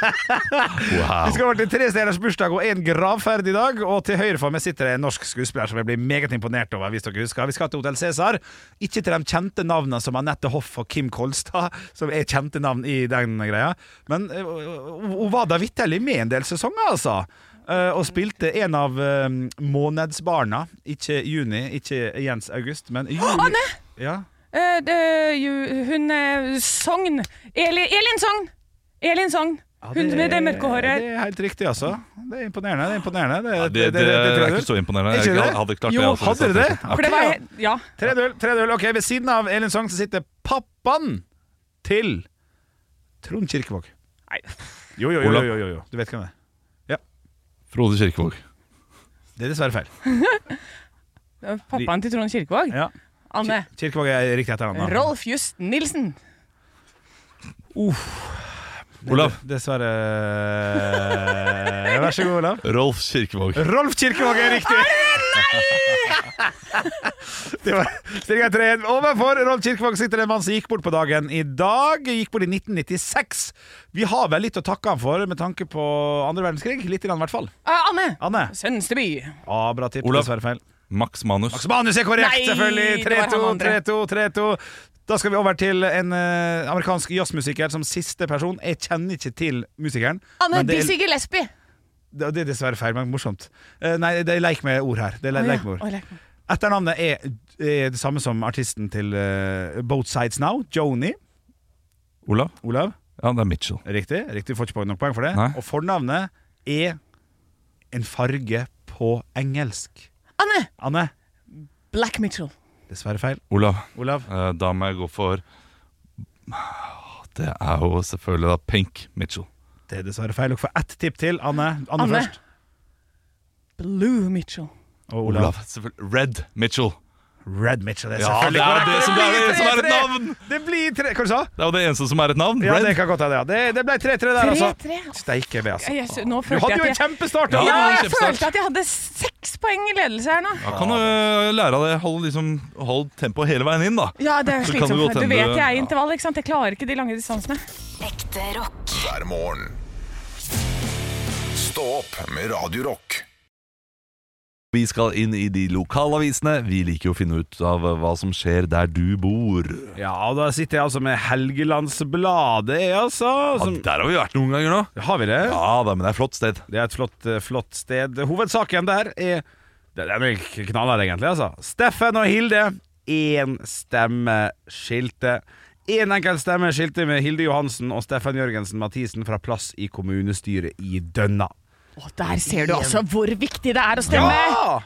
C: Vi skal over til tre stjerners bursdag og en gravferd i dag. Og til høyre for meg sitter det en norsk skuespiller som jeg blir meget imponert over. hvis dere husker. Vi skal til Hotel Cæsar. Ikke til de kjente navnene som Anette Hoff og Kim Kolstad, som er kjente navn i den greia. Men eh, hun var da vitterlig med en del sesonger, altså. Eh, Og spilte en av eh, månedsbarna. Ikke juni, ikke Jens August, men juni.
D: Anne!
C: Ja.
D: Eh, det- ju- hun eh, Sogn. Eli, Elin Sogn! Elin Sogn. Hun
C: det-
D: med det mørke håret.
C: Det er helt riktig, altså. Det er imponerende. Det er imponerende Det,
B: Ja, det, det, er ikke så imponerende.
C: Ikke
B: Jeg
C: det?
B: hadde klart
C: Jo,
B: det. altså,
C: hadde
B: hvis
C: dere
B: jeg
C: det?
B: tenkte-
D: For det var he- Ja.
C: 3-0. 3-0. Ok, Ved siden av Elin Sogn så sitter pappaen til Trond Kirkevåg.
D: Nei.
C: Jo, jo, jo,
B: Olav.
C: jo, jo, jo. Du vet hvem det er.
B: Frode Kirkevåg.
C: Det er dessverre feil.
D: det var Pappaen til Trond Kirkevåg.
C: Ja.
D: Anne.
C: Kirkevåg er riktig etter han. da.
D: Rolf Just Nilsen.
B: Olav.
C: Dessverre Vær så god, Olav.
B: Rolf Kirkevåg.
C: Rolf Kirkevåg er riktig! Det var stillinga 3-1. Overfor Rolf Kirkevåg sitter det en mann som gikk bort på dagen i dag. Gikk bort i 1996. Vi har vel litt å takke han for med tanke på andre verdenskrig. Litt, i hvert fall.
D: Eh, Anne.
C: Anne.
D: Sønsteby.
C: Ja, bra tipp.
B: Olav.
C: Dessverre feil.
B: Max Manus.
C: Max Manus er korrekt,
D: Nei,
C: selvfølgelig!
D: det var han
C: 3-2,
D: andre.
C: 3-2, 3-2. Da skal vi over til en eh, amerikansk jazzmusiker som siste person. Jeg kjenner ikke til musikeren.
D: Anne
C: men det,
D: Dizzie Gillespie.
C: er, det er dessverre feil, men morsomt. Eh, nei, det er leik med ord her. Det er le
D: Å, ja.
C: leik med ord.
D: Å, leik med ord.
C: Etternavnet er, er det samme som artisten til eh, Both Sides Now, Joni.
B: Olav.
C: Olav.
B: Ja, det er Mitchell.
C: Riktig. riktig, Får ikke nok poeng for det.
B: Nei.
C: Og fornavnet er en farge på engelsk.
D: Anne.
C: Anne.
D: Black Mitchell.
C: Dessverre feil.
B: Olav.
C: Olav.
B: Eh, Da må jeg gå for Det er jo selvfølgelig da Pink Mitchell.
C: Det er dessverre feil. Dere får ett tipp til. Anne, Anne,
D: Anne.
C: først.
D: Blue Mitchell.
C: Og Olav.
B: Olav. selvfølgelig. Red Mitchell.
C: Red Mitchell. Det er
B: Ja, det
C: selvfølgelig
B: er
C: korrekt.
B: det som det er, det som er et
C: blir
B: navn!
C: 3-3. Det blir tre... Hva du sa du?
B: Det er jo det eneste som er et navn.
C: Ja,
B: Red.
C: det kan godt hende. Ja. Det, det ble 3-3 der, altså.
D: 3-3.
C: Steike meg, altså.
D: Jeg, jeg, nå
C: Du
D: følte
C: hadde
D: jeg
C: jo
D: at
C: en
D: jeg
C: kjempestart.
B: Ja,
D: ja,
B: det var
D: jeg
B: kjempestart.
D: følte at jeg hadde seks poeng i ledelse her nå.
B: Da kan du eh, lære av det. Hold, liksom, hold tempoet hele veien inn, da.
D: Ja, det er
B: Så kan det
D: slitsomt.
B: godt
D: Du
B: hende-
D: vet jeg er
B: ja.
D: intervall, ikke sant? Jeg klarer ikke de lange distansene.
G: Ekte rock.
A: hver morgen. Stå opp med Radio Rock.
B: Vi skal inn i de lokalavisene. Vi liker jo å finne ut av eh, hva som skjer der du bor.
C: Ja, og da sitter jeg altså med Helgelandsbladet, jeg, altså.
B: Ja,
C: Som...
B: der har vi vært noen ganger nå.
C: Har vi det?
B: Ja da, men det er et flott sted.
C: Det er et flott, eh, flott sted. Hovedsaken der er Den er vel knallhard, egentlig. altså Steffen og Hilde. Én stemme skilte. Én enkel stemme skilte med Hilde Johansen og Steffen Jørgensen Mathisen fra plass i kommunestyret i Dønna.
D: Å, der ser du altså hvor viktig det er å stemme!
C: Ja!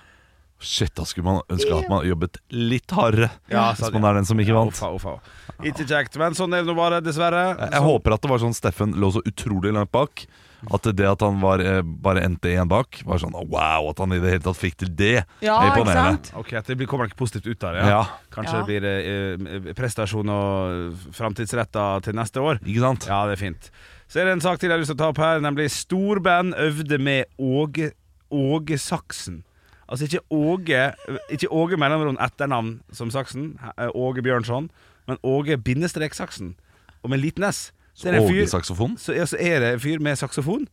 B: Shit, da skulle man ønske at man jobbet litt hardere.
C: Ja, sa
B: hvis
C: de.
B: man er den som ikke vant.
C: Uffa, uffa. Ikke kjekt, men sånn er det nå bare, dessverre.
B: Jeg håper at det var sånn Steffen lå så utrolig langt bak. At det at han var, eh, bare endte igjen bak, var sånn wow. At han i det hele tatt fikk til det.
D: Ja,
B: er
D: ikke
B: imponerende.
D: sant?
C: Ok, at det blir, kommer ikke positivt ut av det.
B: Ja,
C: Kanskje
D: Ja.
C: det blir eh, eh, prestasjon og framtidsretta til neste år.
B: ikke sant?
C: Ja, det er fint. Så er det en sak til jeg har lyst til å ta opp her, nemlig storband øvde med Åge, Åge Saksen. Altså ikke Åge, ikke Åge mellomrom etternavn som Saksen, eh, Åge Bjørnson, men Åge bindestrek Saksen. Og med liten S. Så er det en fyr-
B: Åge-saksofon.
C: så, ja, så er det en fyr med saksofon.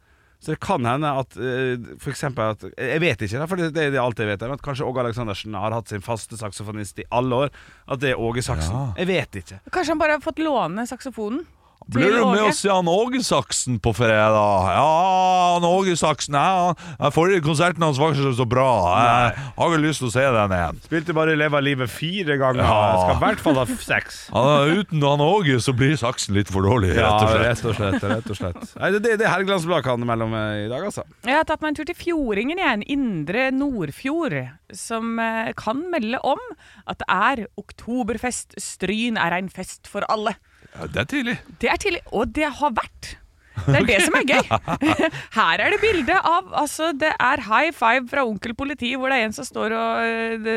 C: Så det kan hende at eh, for eksempel at Jeg vet ikke, da, for det, det er alt jeg vet. Men at kanskje Åge Aleksandersen har hatt sin faste saksofonist i alle år. At det er Åge Saksen. Jeg vet ikke.
D: Kanskje han bare har fått låne saksofonen?
B: Blir du
D: Til
B: med
D: Åge?
B: oss i han Åge-saksen på fredag? Ja, han Åge-saksen ja, han- Forrige konserten hans var ikke så bra. Jeg har ikke lyst til å se den igjen.
C: Spilte bare Leve livet fire ganger.
B: Ja.
C: Skal i hvert fall ha f- seks.
B: Han, uten han Åge så blir saksen litt for dårlig, rett og slett.
C: rett og slett. Rett og slett. Nei, det, det, det er Helgelands Blad kan mellom eh, i dag, altså.
D: Jeg har tatt meg en tur til Fjordingen, jeg. En indre Nordfjord. Som eh, kan melde om at det er oktoberfest. Stryn er en fest for alle.
B: Ja, det er tidlig.
D: Det er tidlig, og det har vært. Det er det som er gøy. Her er det bilde av altså, Det er high five fra onkel politi, hvor det er en som står og eh, det,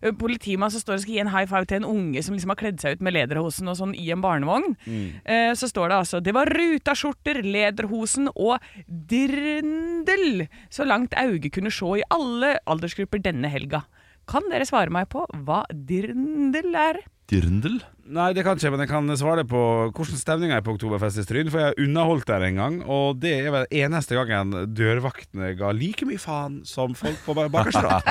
D: eh, Politimann som står og skal gi en high five til en unge som liksom har kledd seg ut med lederhosen og sånn i en barnevogn. Eh, så står det altså Det var rutaskjorter, lederhosen og dirndl så langt auget kunne se i alle aldersgrupper denne helga. Kan dere svare meg på hva dirndl er?
B: Dirndl?
C: Nei, det kan ikke, men jeg kan svare på hvordan stemninga er på Oktoberfest i Stryn. For jeg har underholdt der en gang, og det er vel eneste gangen dørvaktene ga like mye faen som folk på bakerste rad.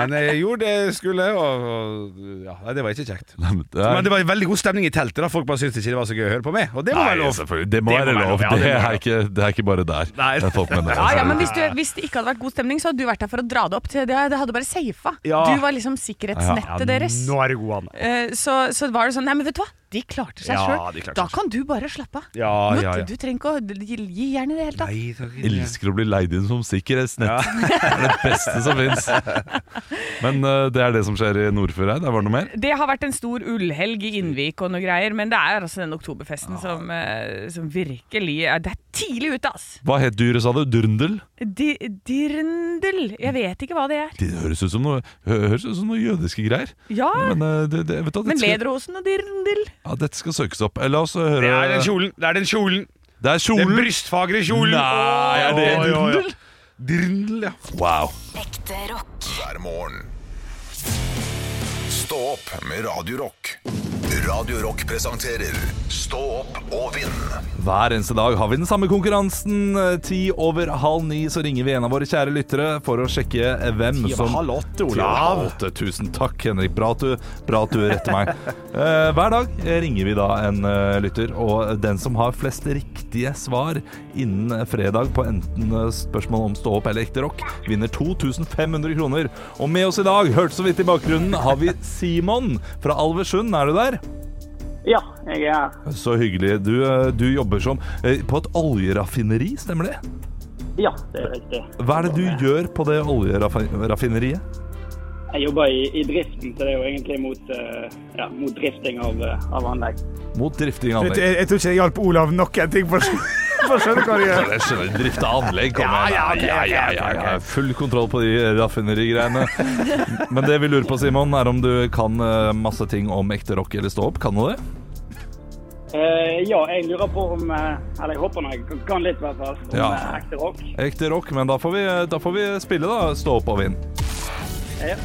C: Men jeg gjorde det jeg skulle, og, og ja, nei, det var ikke kjekt.
B: Nei, men det
C: Men
B: er-
C: det var veldig god stemning i teltet, da. Folk bare syntes ikke det var så gøy å høre på meg, og det må
B: Nei,
C: være lov.
B: selvfølgelig. Det må
C: Det må
B: være
C: være
B: lov.
C: lov, ja, det
B: Det
C: må
B: er
C: være
B: ikke, det er ikke bare der
C: Nei.
B: eh, folk mener det.
D: Ja, ja, men
B: altså.
D: hvis, du, hvis det ikke hadde vært god stemning, så hadde du vært der for å dra det opp. til Det, det hadde bare safa.
C: Ja.
D: Du var liksom sikkerhetsnettet deres.
C: Nå er det god, Anne.
D: Eh, Så, så var det sånn Nei, men vet du hva? De klarte seg
C: Ja, de
D: sjøl.
C: klarte
D: Da
C: seg
D: kan du bare slappe av.
C: Ja,
D: Nå-
C: ja, ja.
D: Du trenger ikke å gi gi jern i det hele tatt.
C: Nei, takk.
B: Elsker å bli leid inn som sikkerhetsnett. Det er det beste som fins. Men eh, det er det som skjer i Nordfjordeid. Det var det noe mer?
D: Det har vært en stor ullhelg i Innvik og noe greier, men det er altså den oktoberfesten som, eh, som virkelig er Det er tidlig ute, ass!
B: Hva het dyret, sa du? Durndel?
D: Di- Dirndl. Jeg vet ikke hva det er.
B: Det høres ut som noe, hø- høres ut som noe jødiske greier.
D: Ja,
B: Men, eh, det, det, vet du, hva,
D: men
B: dette, skal,
D: lederhosen og dirndl
B: ja, dette skal søkes opp. Eh, La oss høre
C: Det er den kjolen! Det er den kjolen!
B: Det er
C: Den
B: kjolen!
C: brystfagre kjolen!
B: Nei, er det
C: Oi, oi, oi.
B: dirndl?
C: Dirndl, ja.
B: Wow.
G: Ekte rock.
A: hver morgen. Stå opp med Radio Rock. Radio Rock presenterer Stå opp og vinn.
B: Hver eneste dag har vi den samme konkurransen. Eh, Ti over halv ni så ringer vi en av våre kjære lyttere for å sjekke eh, hvem
C: over
B: som
C: halv
B: Ti
C: åtte, Olav.
B: over halv åtte. Tusen takk, Henrik. Bra at du, bra at du retter meg. Eh, Hver dag ringer vi da en eh, lytter, og den som har flest riktige svar innen eh, fredag på enten eh, spørsmål om stå opp eller ekte rock, vinner 2500 kroner. Og med oss i dag, hørte så vidt i bakgrunnen, har vi Simon fra Alversund. Er du der?
H: Ja, jeg er her.
B: Så hyggelig. Du, eh, du jobber som eh, på et oljeraffineri, stemmer det?
H: Ja, det er riktig.
B: Hva er det du gjør på det oljeraffineriet?
H: Jeg jobber i, i driften, så det er jo egentlig mot, eh, ja, mot drifting av, eh, av anlegg.
B: Mot drifting av
C: Jeg,
B: anlegg.
C: jeg tror ikke jeg hjalp Olav noen ting for for å skjønne hva det gjør.
B: Jeg skjønner, drift av anlegg kommer
C: Ja, ja, ok,
B: ja, ja, ja, ja. Full kontroll på de raffinerigreiene. Men det vi lurer på, Simon, er om du kan eh, masse ting om ekte rock eller stå opp. Kan du det?
H: Eh, ja, jeg lurer på om eh, Eller jeg håper nå jeg kan- kan litt, i hvert fall. Om
B: Ja.
H: eh, ekte rock.
B: Ekte rock, men da får vi, da får vi spille, da. Stå opp og vinn.
H: Ja.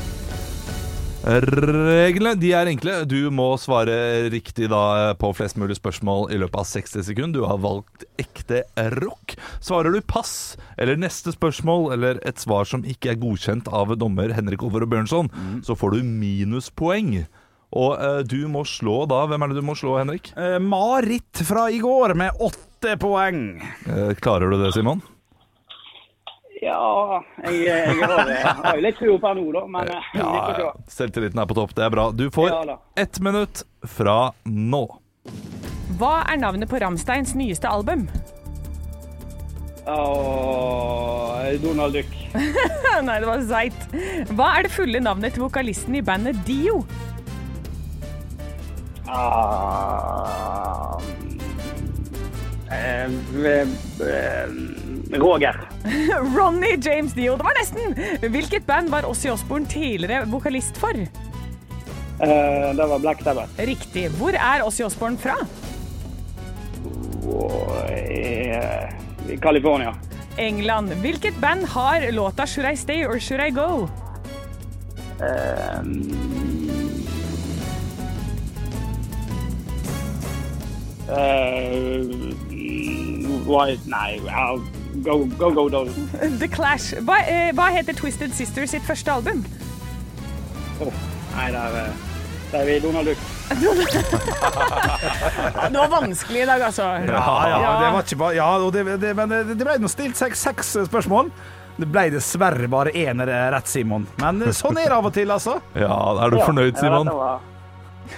B: Reglene de er enkle. Du må svare riktig da på flest mulig spørsmål i løpet av 60 sekunder. Du har valgt ekte rock. Svarer du pass eller neste spørsmål eller et svar som ikke er godkjent av dommer Henrik Over og Bjørnson, så får du minuspoeng. Og eh, du må slå da Hvem er det du må slå, Henrik?
C: Eh, Marit fra i går med åtte poeng.
B: Eh, klarer du det, Simon?
H: Ja, jeg, jeg har, eh, har jo litt tro på henne nå, da, men eh, vi får se.
B: Selvtilliten er på topp. Det er bra. Du får
H: Ja da.
B: ett minutt fra nå.
D: Hva er navnet på Ramsteins nyeste album?
H: Åh, Ah, Donald Duck.
D: Nei, det var Zeit. Hva er det fulle navnet til vokalisten i bandet Dio?
H: Ah, eh, eh, eh, Roger.
D: Ronny James Dio, det var nesten! Hvilket band var Ossi Osborn tidligere vokalist for?
H: Eh, det var Black Sabbath.
D: Riktig. Hvor er Ossi Osborn fra?
H: og eh, i California.
D: England. Hvilket band har låta 'Should I Stay or Should I Go'?
H: Eh, why, nei, ja, go, go, go, go.
D: The Clash. Hva, eh, hva heter Twisted Sisters sitt første album?
H: Oh, nei, der, eh, der er vi i Donald Duck.
D: Det var vanskelig i dag, altså.
C: Ja, ja, det var ikke bare Ja, og det, det, men det det ble nå stilt seks, seks spørsmål. Det ble dessverre bare én eh, rett, Simon. Men sånn er det av og til, altså.
B: Ja, Er du fornøyd, Simon?
H: Ja, dette var-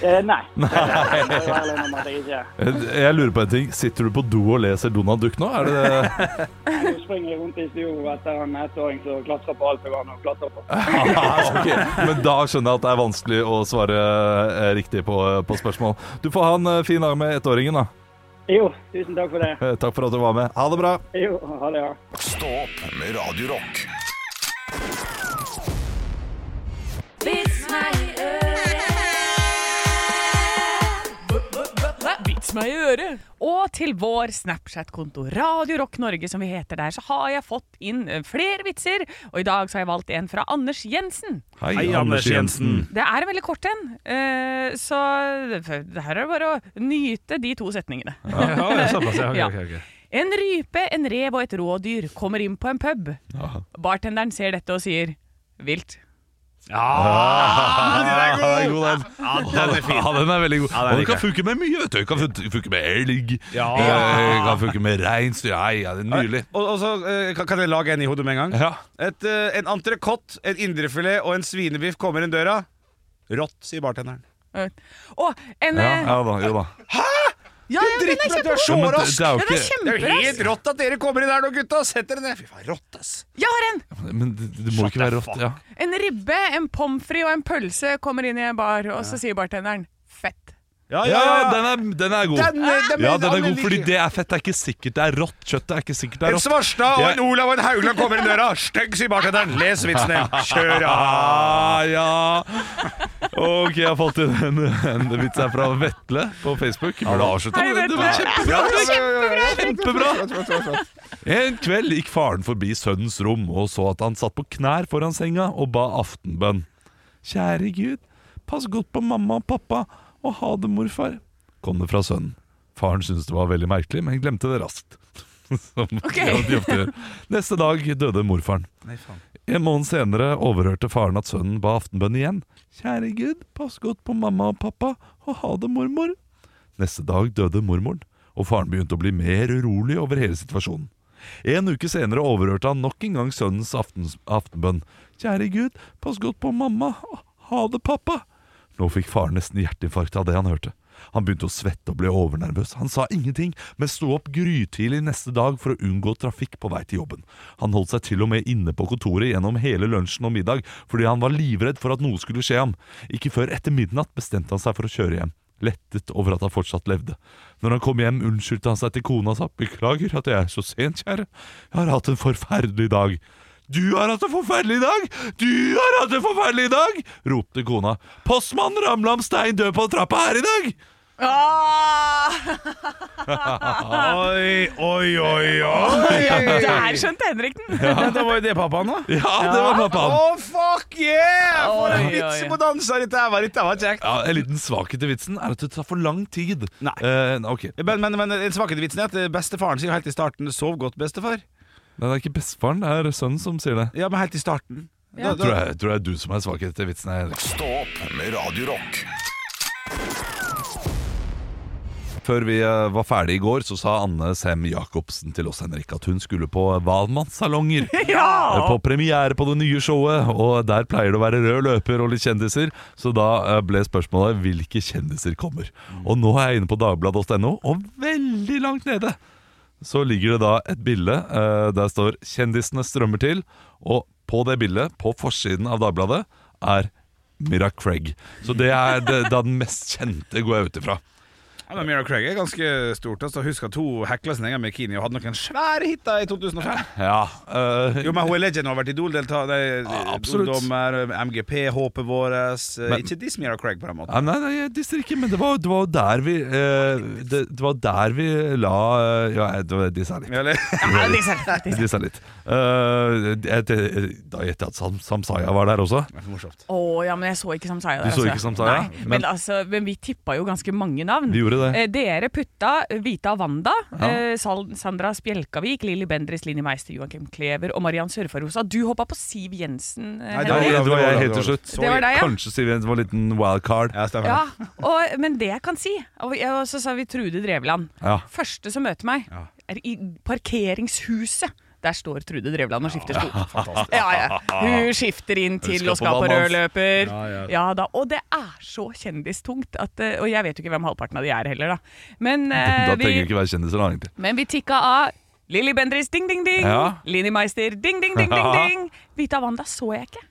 H: Eh, nei. nei. Jeg må være ærlig om at jeg ikke
B: Jeg lurer på en ting. Sitter du på do og leser Donald Duck nå? Er det det?
H: Nå springer jeg rundt i studio etter en ettåring som klatrer på alt jeg kan å klatre på.
B: Ah, Ok, Men da skjønner jeg at det er eh, vanskelig å svare eh, riktig på, på spørsmål. Du får ha en eh, fin dag med ettåringen, da.
H: Jo, tusen takk for det.
G: Eh, Takk for at du var med. Ha det bra.
H: Jo, ha det, ja.
A: Stå opp med Radio Rock.
I: Vits meg i
D: Vits meg i øret! Og til vår Snapchat-konto Radio Rock Norge, som vi heter der, så har jeg fått inn eh, flere vitser. Og i dag så har jeg valgt en fra Anders Jensen.
B: Hei,
C: Hei, Anders Jensen.
D: Det er en veldig kort en, eh, så det her er bare å nyte de to setningene.
C: Ja, det er såpass, ja. ok, ok, ok.
D: En rype, en rev og et rådyr kommer inn på en pub. Bartenderen ser dette og sier vilt.
B: Ja, den er god, den.
C: Ja, den er fin.
B: Ja, den er veldig god.
C: Ja, den
B: og den kan
C: liker
B: funke med mye. vet du Den kan fun- funke med elg,
C: Ja.
B: eh, kan funke med reinsdyr. Ja, ja, det er nydelig.
C: Og, og så eh, kan- Kan jeg lage en i hodet med en gang?
B: Ja.
C: Et, eh, en entrecôte, en indrefilet og en svinebiff kommer inn døra. Rått, sier bartenderen.
D: Og en
G: Ja,
D: eh,
G: ja da, jo da.
D: ja, ja, den er
C: Dritbra, du er så
B: Ja, men det,
C: rask!
B: det er jo
D: Ja,
B: ikke
D: det er
C: Det er jo
D: kjemperask!
C: helt rått at dere kommer inn her nå, gutta! Sett dere ned! Fy faen, rått, ass!
D: Jeg har en!
B: Men det, det må ikke være rått. Ja.
D: En ribbe, en pommes frites og en pølse kommer inn i en bar, og så sier bartenderen fett.
B: Ja, ja, den er, den er god.
C: Den, eh, den-
B: ja, den er
C: den
B: god,
C: liker-
B: fordi det er fett. Det er ikke sikkert det er rått. Kjøttet er ikke sikkert det er
C: En
B: rått.
C: Svarstad og
B: Jeg-
C: en Olav og en Haugland kommer inn døra. Stygg, sier bartenderen. Les vitsen din. Kjør av.
B: Ah, ja Ok, jeg har fått inn en, en vits her fra Vetle på Facebook. Burde avslutte
D: Hei,
B: med den. Det
D: Vetle.
B: var kjempebra. Kjempebra! En kveld gikk faren forbi sønnens rom og så at han satt på knær foran senga og ba aftenbønn. Kjære Gud, pass godt på mamma og pappa, og ha det, morfar, kom det fra sønnen. Faren syntes det var veldig merkelig, men glemte det raskt. Som de ofte gjør. Neste dag døde morfaren. En måned senere overhørte faren at sønnen ba aftenbønn igjen. Kjære Gud, pass godt på mamma og pappa, og ha det, mormor. Neste dag døde mormoren, og faren begynte å bli mer urolig over hele situasjonen. En uke senere overhørte han nok en gang sønnens aftens, aftenbønn. Kjære Gud, pass godt på mamma. Ha det, pappa. Nå fikk faren nesten hjerteinfarkt av det han hørte. Han begynte å svette og ble overnervøs. Han sa ingenting, men sto opp grytidlig neste dag for å unngå trafikk på vei til jobben. Han holdt seg til og med inne på kontoret gjennom hele lunsjen og middag fordi han var livredd for at noe skulle skje ham. Ikke før etter midnatt bestemte han seg for å kjøre hjem. Lettet over at han fortsatt levde. Når han kom hjem, unnskyldte han seg til kona og sa beklager at jeg er så sent, kjære. Jeg har hatt en forferdelig dag. Du har hatt en forferdelig dag! Du har hatt en forferdelig dag! ropte kona. Postmannen ramla om stein død på trappa her i dag!
C: Ah! Oi, oi, oi, oi!
D: Der skjønte Henrik den!
C: Ja, det var jo det pappaen, da.
B: Ja, det var
C: Å,
B: pappaen.
C: fuck yeah! For en
D: Oi,
C: vits
D: oi.
C: på danser! Dette her var, dette her var kjekt.
B: Ja, en liten svakhet i vitsen er at det tar for lang tid.
C: Nei.
B: Eh, ok,
C: Men, men, men den svakeste vitsen er at bestefaren sier helt i starten 'sov godt, bestefar'.
B: Nei, Det er ikke bestefaren, det er sønnen som sier det.
C: Ja, men helt i starten. Da,
B: Tror
C: da,
B: jeg, tror jeg er du som er svakhet i vitsen her.
A: Stå opp med Radio Rock.
B: Før vi eh, var ferdig i går, så sa Anne Sem Jacobsen til oss Henrik at hun skulle på Valmannssalonger. Eh, På premiere på det nye showet, og der pleier det å være rød løper og litt kjendiser. Så da eh, ble spørsmålet hvilke kjendiser kommer. Og nå er jeg inne på dagbladet.no, og veldig langt nede så ligger det da et bilde eh, der står 'Kjendisene strømmer til', og på det bildet, på forsiden av Dagbladet, er Mira Craig. Så det er det- da den mest kjente går jeg ut ifra.
C: ja, men Mira Craig er ganske stort. Altså. Husk at hun hekla sin egen bikini og hadde noen svære hiter i 2005.
B: Ja, eh,
C: Jo, men hun er legend og har vært
B: Ja,
C: Idol-deltaker, ja,
B: absolutt.
C: ungdommer, MGP, håpet vårt.
B: Men-
C: Ikke diss Mira Craig på den måten.
B: Ja, nei, nei, jeg disser ikke, men det var det var jo der vi eh, det, det var der vi la eh, Ja, jeg- det var- disse er liksom- litt.
C: Eller?
B: Disse er litt. Eh, jeg- det- da gjetter jeg at Sam, Samsaya var der også.
D: Å ja, men jeg så ikke
B: Du
D: Samsaya. der,
B: så
D: altså.
B: ikke Samsaya?
D: Nei, men,
B: Men-
D: altså, men vi tippa jo ganske mange navn.
B: Vi gjorde det.
D: Eh, dere putta Vita Wanda, eh, Sal Sandra Spjelkavik, Lilly Bendriss, Linni Meister, Joakim Klever og Mariann Sørfarosa. Du hoppa på Siv Jensen. eh,
C: Nei,
B: Det var,
D: Henrik.
B: det var jeg helt
C: det
B: til
C: var-
B: slutt.
C: det
D: var- det var deg, ja.
B: Kanskje Siv Jensen var en liten wildcard.
C: Ja, stemmer.
D: ja, og, men det jeg kan si, og, jeg- og så sa vi Trude Drevland.
B: Ja.
D: Første som møter meg, er i parkeringshuset. Der står Trude Drevland og skifter sko. Ja, ja. Hun skifter inn til
B: skal
D: og skal
B: på
D: på rød
B: Valmanns.
D: løper. Ja, da. Og det er så kjendistungt. At, eh, og jeg vet jo ikke hvem halvparten av de er heller, da. Men, eh,
B: Da trenger det
D: vi,
B: ikke være kjendiser, da, egentlig.
D: men vi tikka av. Lilly Bendriss, ding, ding, ding.
B: Ja.
D: Linni Meister, ding, ding, ding, ding,
B: Ja.
D: ding. Vita Wanda så jeg ikke.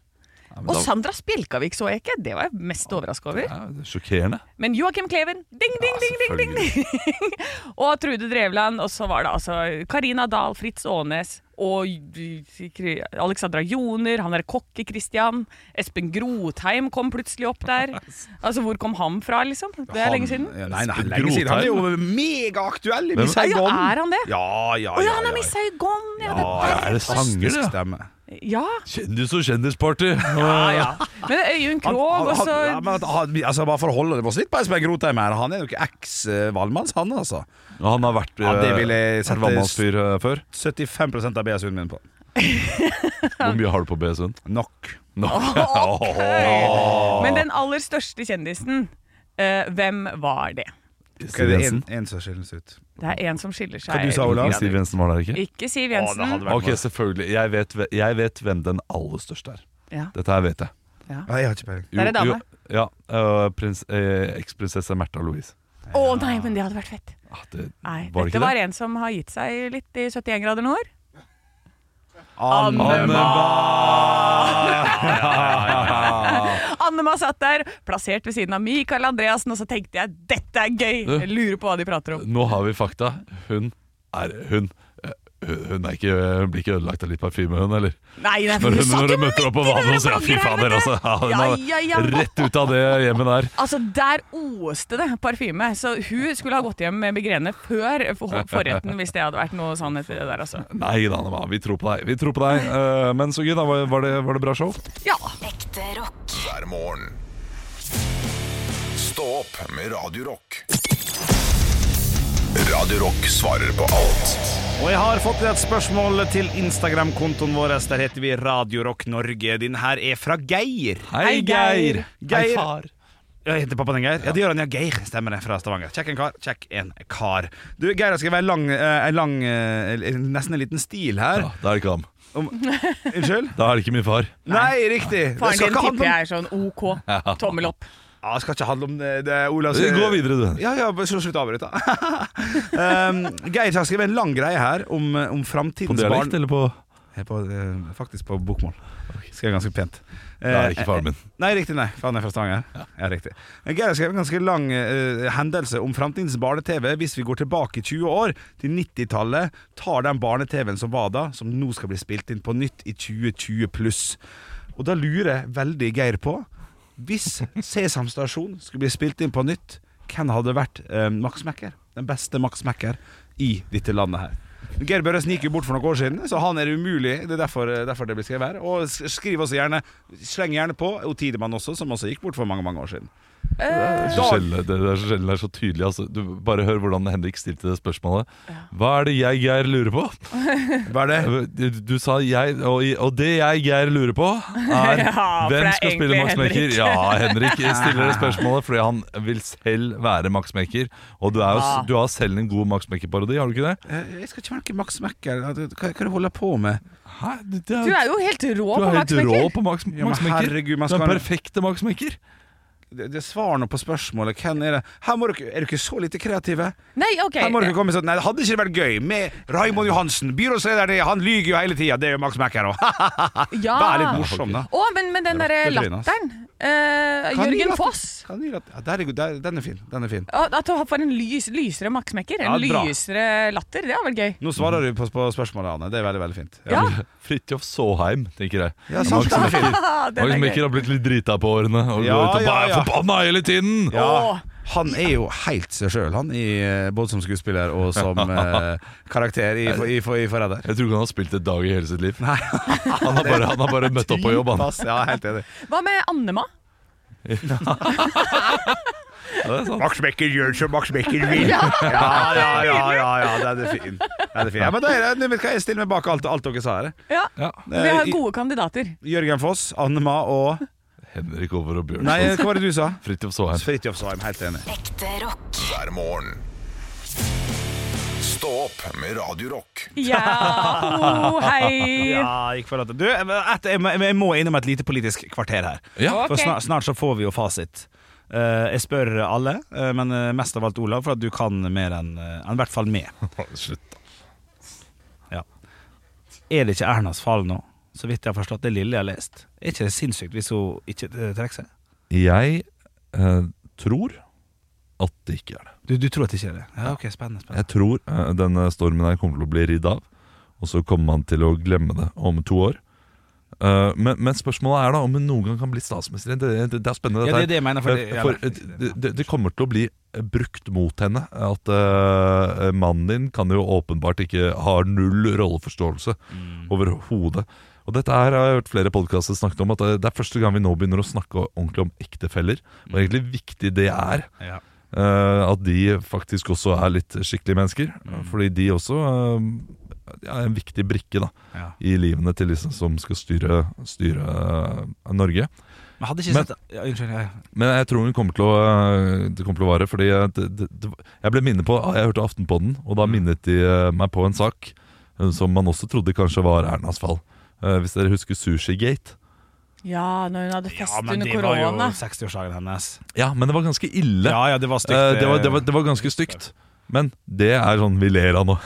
B: men
D: Og
B: da-
D: Sandra Spjelkavik så jeg ikke, det var jeg mest overraska over.
B: Ja, det er sjokkerende.
D: Men Joakim Kleven, ding, ding, ding, ding, ding, ding. og Trude Drevland. Og så var det altså Karina Dahl, Fritz Aanes og Alexandra Joner. Han derre kokke-Christian. Espen Grotheim kom plutselig opp der. Altså, hvor kom han fra, liksom? Det er lenge siden.
C: Ja, nei, nei, lenge siden. Han er jo megaaktuell i
B: Hvem-
C: Miss
D: Ja,
C: Saigon.
D: er han det?
C: Ja, ja,
D: Å
C: ja.
D: ja, han er Miss Saigon! Ja, det,
B: er det sanger,
C: Fantastisk
B: det?
C: stemme.
D: ja.
B: Kjendis- og kjendisparty! Ja,
D: ja. Men
C: Han-
D: Øyunn Krogh, og
C: han-
D: så
C: ja, men at han- altså, Bare for å holde oss litt på Espen Grotheim her, han er jo ikke eks-valgmanns, han altså.
B: Han har vært
C: Ja, det vil jeg
B: eh,
C: sette-
B: vannmannsfyr eh, før.
C: 75 av BSU-en min på.
B: Hvor mye har du på BSU-en?
C: Nok.
B: No.
D: Ok. Men den aller største kjendisen, eh, hvem var det?
C: Okay,
B: Siv
C: det er en,
B: Jensen.
C: en som skilles ut.
D: Det er en som skiller seg.
C: Hva du sa, Olav?
B: Siv Jensen var der ikke?
D: Ikke Siv
C: Å, det hadde
D: Jensen.
C: vært
B: Ok,
C: bra.
B: selvfølgelig. Jeg vet, hve- jeg vet hvem den aller største er.
D: Ja.
B: Dette her vet jeg.
C: Nei, jeg har ikke peiling.
B: Jo,
D: Der er dame.
B: jo, Ja, øh, prins, eh, Eksprinsesse Märtha Louise.
D: Å nei, men det hadde vært fett.
B: Ah, det,
D: Nei,
B: Var det ikke
D: Dette var
B: det?
D: en som har gitt seg litt i 71 grader nord.
C: Anne-
B: Anne
D: Annema satt der, plassert ved siden av Michael Andreassen, og så tenkte jeg dette er gøy!
B: Du.
D: Jeg lurer på hva de prater om.
B: Nå har vi fakta. Hun er Hun, eh, hun er ikke, hun blir ikke ødelagt av litt parfyme, hun, eller?
D: Nei, nei,
B: Når
D: du
B: hun,
D: satt
B: når
D: jo
B: hun møter opp på
D: midt i
B: vannet og
D: det
B: sier fy fader, altså.
D: bloggerhelvetet!
B: Ja, hun er
D: Ja, ja, ja.
B: Rett ut av det hjemmet der.
D: Altså, Der oste det parfyme, så hun skulle ha gått hjem med migrene før for- forretten hvis det hadde vært noe sannhet i det der, altså.
B: Nei da, Anne-Ma, vi tror på deg. Vi tror på deg. Eh, Men så gøy, da. Var var det, var det bra show?
D: Ja.
I: Ekte rock.
A: hver morgen. Stå opp med Radio Rock. Radio Rock svarer på alt.
C: Og jeg har fått et spørsmål til Instagram-kontoen vår. Der heter vi Radio Rock Norge. Din her er fra Geir.
B: Hei, Geir. Hei,
C: Geir.
B: far.
C: Jeg heter pappaen din, Geir. Ja, det gjør han. Ja, Geir stemmer det, fra Stavanger. Kjekk en kar. Kjekk en kar. Du, Geir har skrevet en lang, eh, en lang eh, nesten en liten stil her.
B: Ja, da er det ikke ham.
C: Om, unnskyld?
B: Da er det ikke min far.
C: Nei, riktig. Det
D: Faren
C: skal
D: din
C: ikke handle
D: tipper
C: om,
D: jeg er sånn OK. Tommel opp.
C: ja, det skal ikke handle om eh, det, det Olavs
D: Altså,
B: Gå videre, du.
C: Ja, ja, bare så slutt å avbryte. um, Geir har skrevet en lang greie her om, eh, om
B: På
C: framtidens barn.
B: dialekt eller på
C: Jeg er På, eh, faktisk på bokmål. Skrev ganske pent. Eh,
B: Det
D: Eh,
B: er ikke faren min.
C: Nei, riktig. nei For han er fra Stavanger. Ja. riktig Eh, Geir skrev en ganske lang eh, hendelse om framtidens barne-TV. Hvis vi går tilbake 20 år, til 90-tallet, tar den barne-TV-en som var da, som nå skal bli spilt inn på nytt i 2020 pluss. Og da lurer jeg veldig Geir på Hvis Sesam stasjon skulle bli spilt inn på nytt, hvem hadde vært eh, Max Mekker? Den beste Max Mekker i dette landet her. Geir Børresen gikk jo bort for noen år siden, så han er umulig. Det er derfor, eh, derfor det blir skrevet her. Og s- skriv også gjerne, sleng gjerne på O Tidemann også, som også gikk bort for mange mange år siden.
B: Det er så sjelden det er så, sjelden det er så tydelig. Altså. Du bare hør hvordan Henrik stilte det spørsmålet. Hva er det jeg, Geir, lurer på? Eh,
C: Hva er det?
B: Du, du sa jeg, og, i- og det jeg, Geir, lurer på, er
D: Ja, for det
B: hvem
D: er
B: skal spille
D: egentlig
B: Max Mekker?
D: Henrik.
B: Ja, Henrik stiller det spørsmålet fordi han vil selv være Max Mekker. Og du, er jo,
D: Ja.
B: s- du har selv en god Max Mekker-parodi, har du ikke det?
C: Eh, Jeg skal ikke merke Max Mekker. Hva, hva er det du holder på med?
B: Hæ? Du, du
D: Du er jo helt rå
B: du
D: på
B: er
D: Max
B: helt rå
D: Mekker.
B: på Max,
C: Ja, men
B: Max Mekker.
C: herregud, man
B: Den
C: skal-
B: perfekte Max Mekker.
C: Det, det Svar nå på spørsmålet. Hvem er det? Her må dere, er dere så lite kreative?
D: Nei, OK.
C: Her må dere komme sånn Nei, hadde ikke det vært gøy med Raymond Johansen? Byrådslederen i- han lyger jo hele tida. Det gjør Max Mekker òg.
D: Ja.
C: Vær litt morsom, da.
D: Ah. Å, men, men den derre
C: Rødt øyne, ass.
D: latteren. Eh,
C: Kan gi
D: Jørgen
C: latter.
D: Foss.
C: Kan gi latter. Ja, der er god- der, den er fin. Den er fin.
D: Å, At han får en lys, lysere maksmekker. En
C: Ja, bra.
D: lysere latter. Det hadde vært gøy.
C: Nå svarer du på, på spørsmålet, Anne. Det er veldig, veldig fint.
D: Ja,
B: Fridtjof Saaheim, tenker jeg.
C: Ja, sant.
B: Max Mekker.
D: den
B: Max Mekker har
D: er gøy.
B: liksom blitt litt drita på årene og
C: Ja,
B: går ut og
C: ja,
B: bare er
C: ja.
B: forbanna hele tiden!
C: Ja,
D: Åh.
C: han er jo helt seg sjøl, han, i, eh, både som skuespiller og som eh, karakter i, i, i, i Forræder.
B: Jeg tror ikke han har spilt et dag i hele sitt liv. Han har bare, han har bare møtt opp på jobb, han.
C: Pass, Ja, helt enig.
D: Hva med Annema?
C: Max Becker gjør som Max Becker vil. Ja, ja, ja, ja, ja, ja den er fin. Den er fin. Ja, men da er det, vet du hva, jeg stiller meg bak alt, alt dere sa her.
D: Ja.
B: Ja.
D: Vi har
C: Eh, i-
D: gode kandidater.
C: Jørgen Foss, Annema og
B: Henrik Over og
C: Nei,
B: Bjørnson.
C: hva var det du sa?
B: Fridtjof Saaheim.
C: Fridtjof Svaim, helt enig.
I: Ekte rock.
A: hver morgen. Stå opp med Radio Rock.
D: Ja, ho, hei.
C: Ja, jeg føler at Du, et, jeg, må- jeg må innom et lite politisk kvarter her.
B: Ja.
C: For snart, snart så får vi jo fasit. Eh, jeg spør alle, eh, men eh, mest av alt Olav, for at du kan mer enn eh, enn i hvert fall meg.
B: Slutt.
C: Er det ikke Ernas fall nå så vidt jeg har forstått, det lille jeg har lest. Er ikke det sinnssykt hvis hun ikke eh, trekker seg?
B: Jeg eh, tror at det ikke er det.
C: Du, du tror at det ikke er det? Ja, ok, spennende, spennende.
B: Jeg tror eh, denne stormen her kommer til å bli ridd av, og så kommer man til å glemme det om to år. Eh, men, men spørsmålet er da om hun noen gang kan bli statsminister. Det, det, det er spennende.
C: Ja,
B: dette her.
C: det er det jeg mener. For,
B: Eh, For,
C: ja,
B: eh, det, det, det kommer til å bli eh, brukt mot henne. At eh, mannen din kan jo åpenbart ikke har null rolleforståelse
C: Mm,
B: overhodet. Og dette her har jeg hørt flere podkaster snakke om, at eh, det er første gang vi nå begynner å snakke ordentlig om ektefeller.
C: Mm.
B: Og egentlig viktig det er.
C: ja.
B: eh, at de faktisk også er litt skikkelige mennesker.
C: Mm.
B: Fordi de også eh, er en viktig brikke da,
C: Ja.
B: i livene til disse som skal styre, styre eh, Norge.
C: Men hadde ikke
B: Men-
C: sett ja, Unnskyld. Ja,
B: Men jeg tror hun kommer til å, øh, det kommer til å vare. Fordi jeg, det, det, det, jeg ble minnet på ah, Jeg hørte Aftenpodden, og
C: Mm.
B: da minnet de øh, meg på en sak øh, som man også trodde kanskje var Ernas fall. Eh, Hvis dere husker Sushigate.
D: Ja, når hun hadde
C: ja
D: fest
C: men
D: under
C: det var jo
D: korona.
C: 60-årsdagen hennes.
B: Ja, men det var ganske ille.
C: Ja, ja, det var stygt.
B: Eh, det, var, det, var, det var ganske stygt. Men det er sånn vi ler av nå.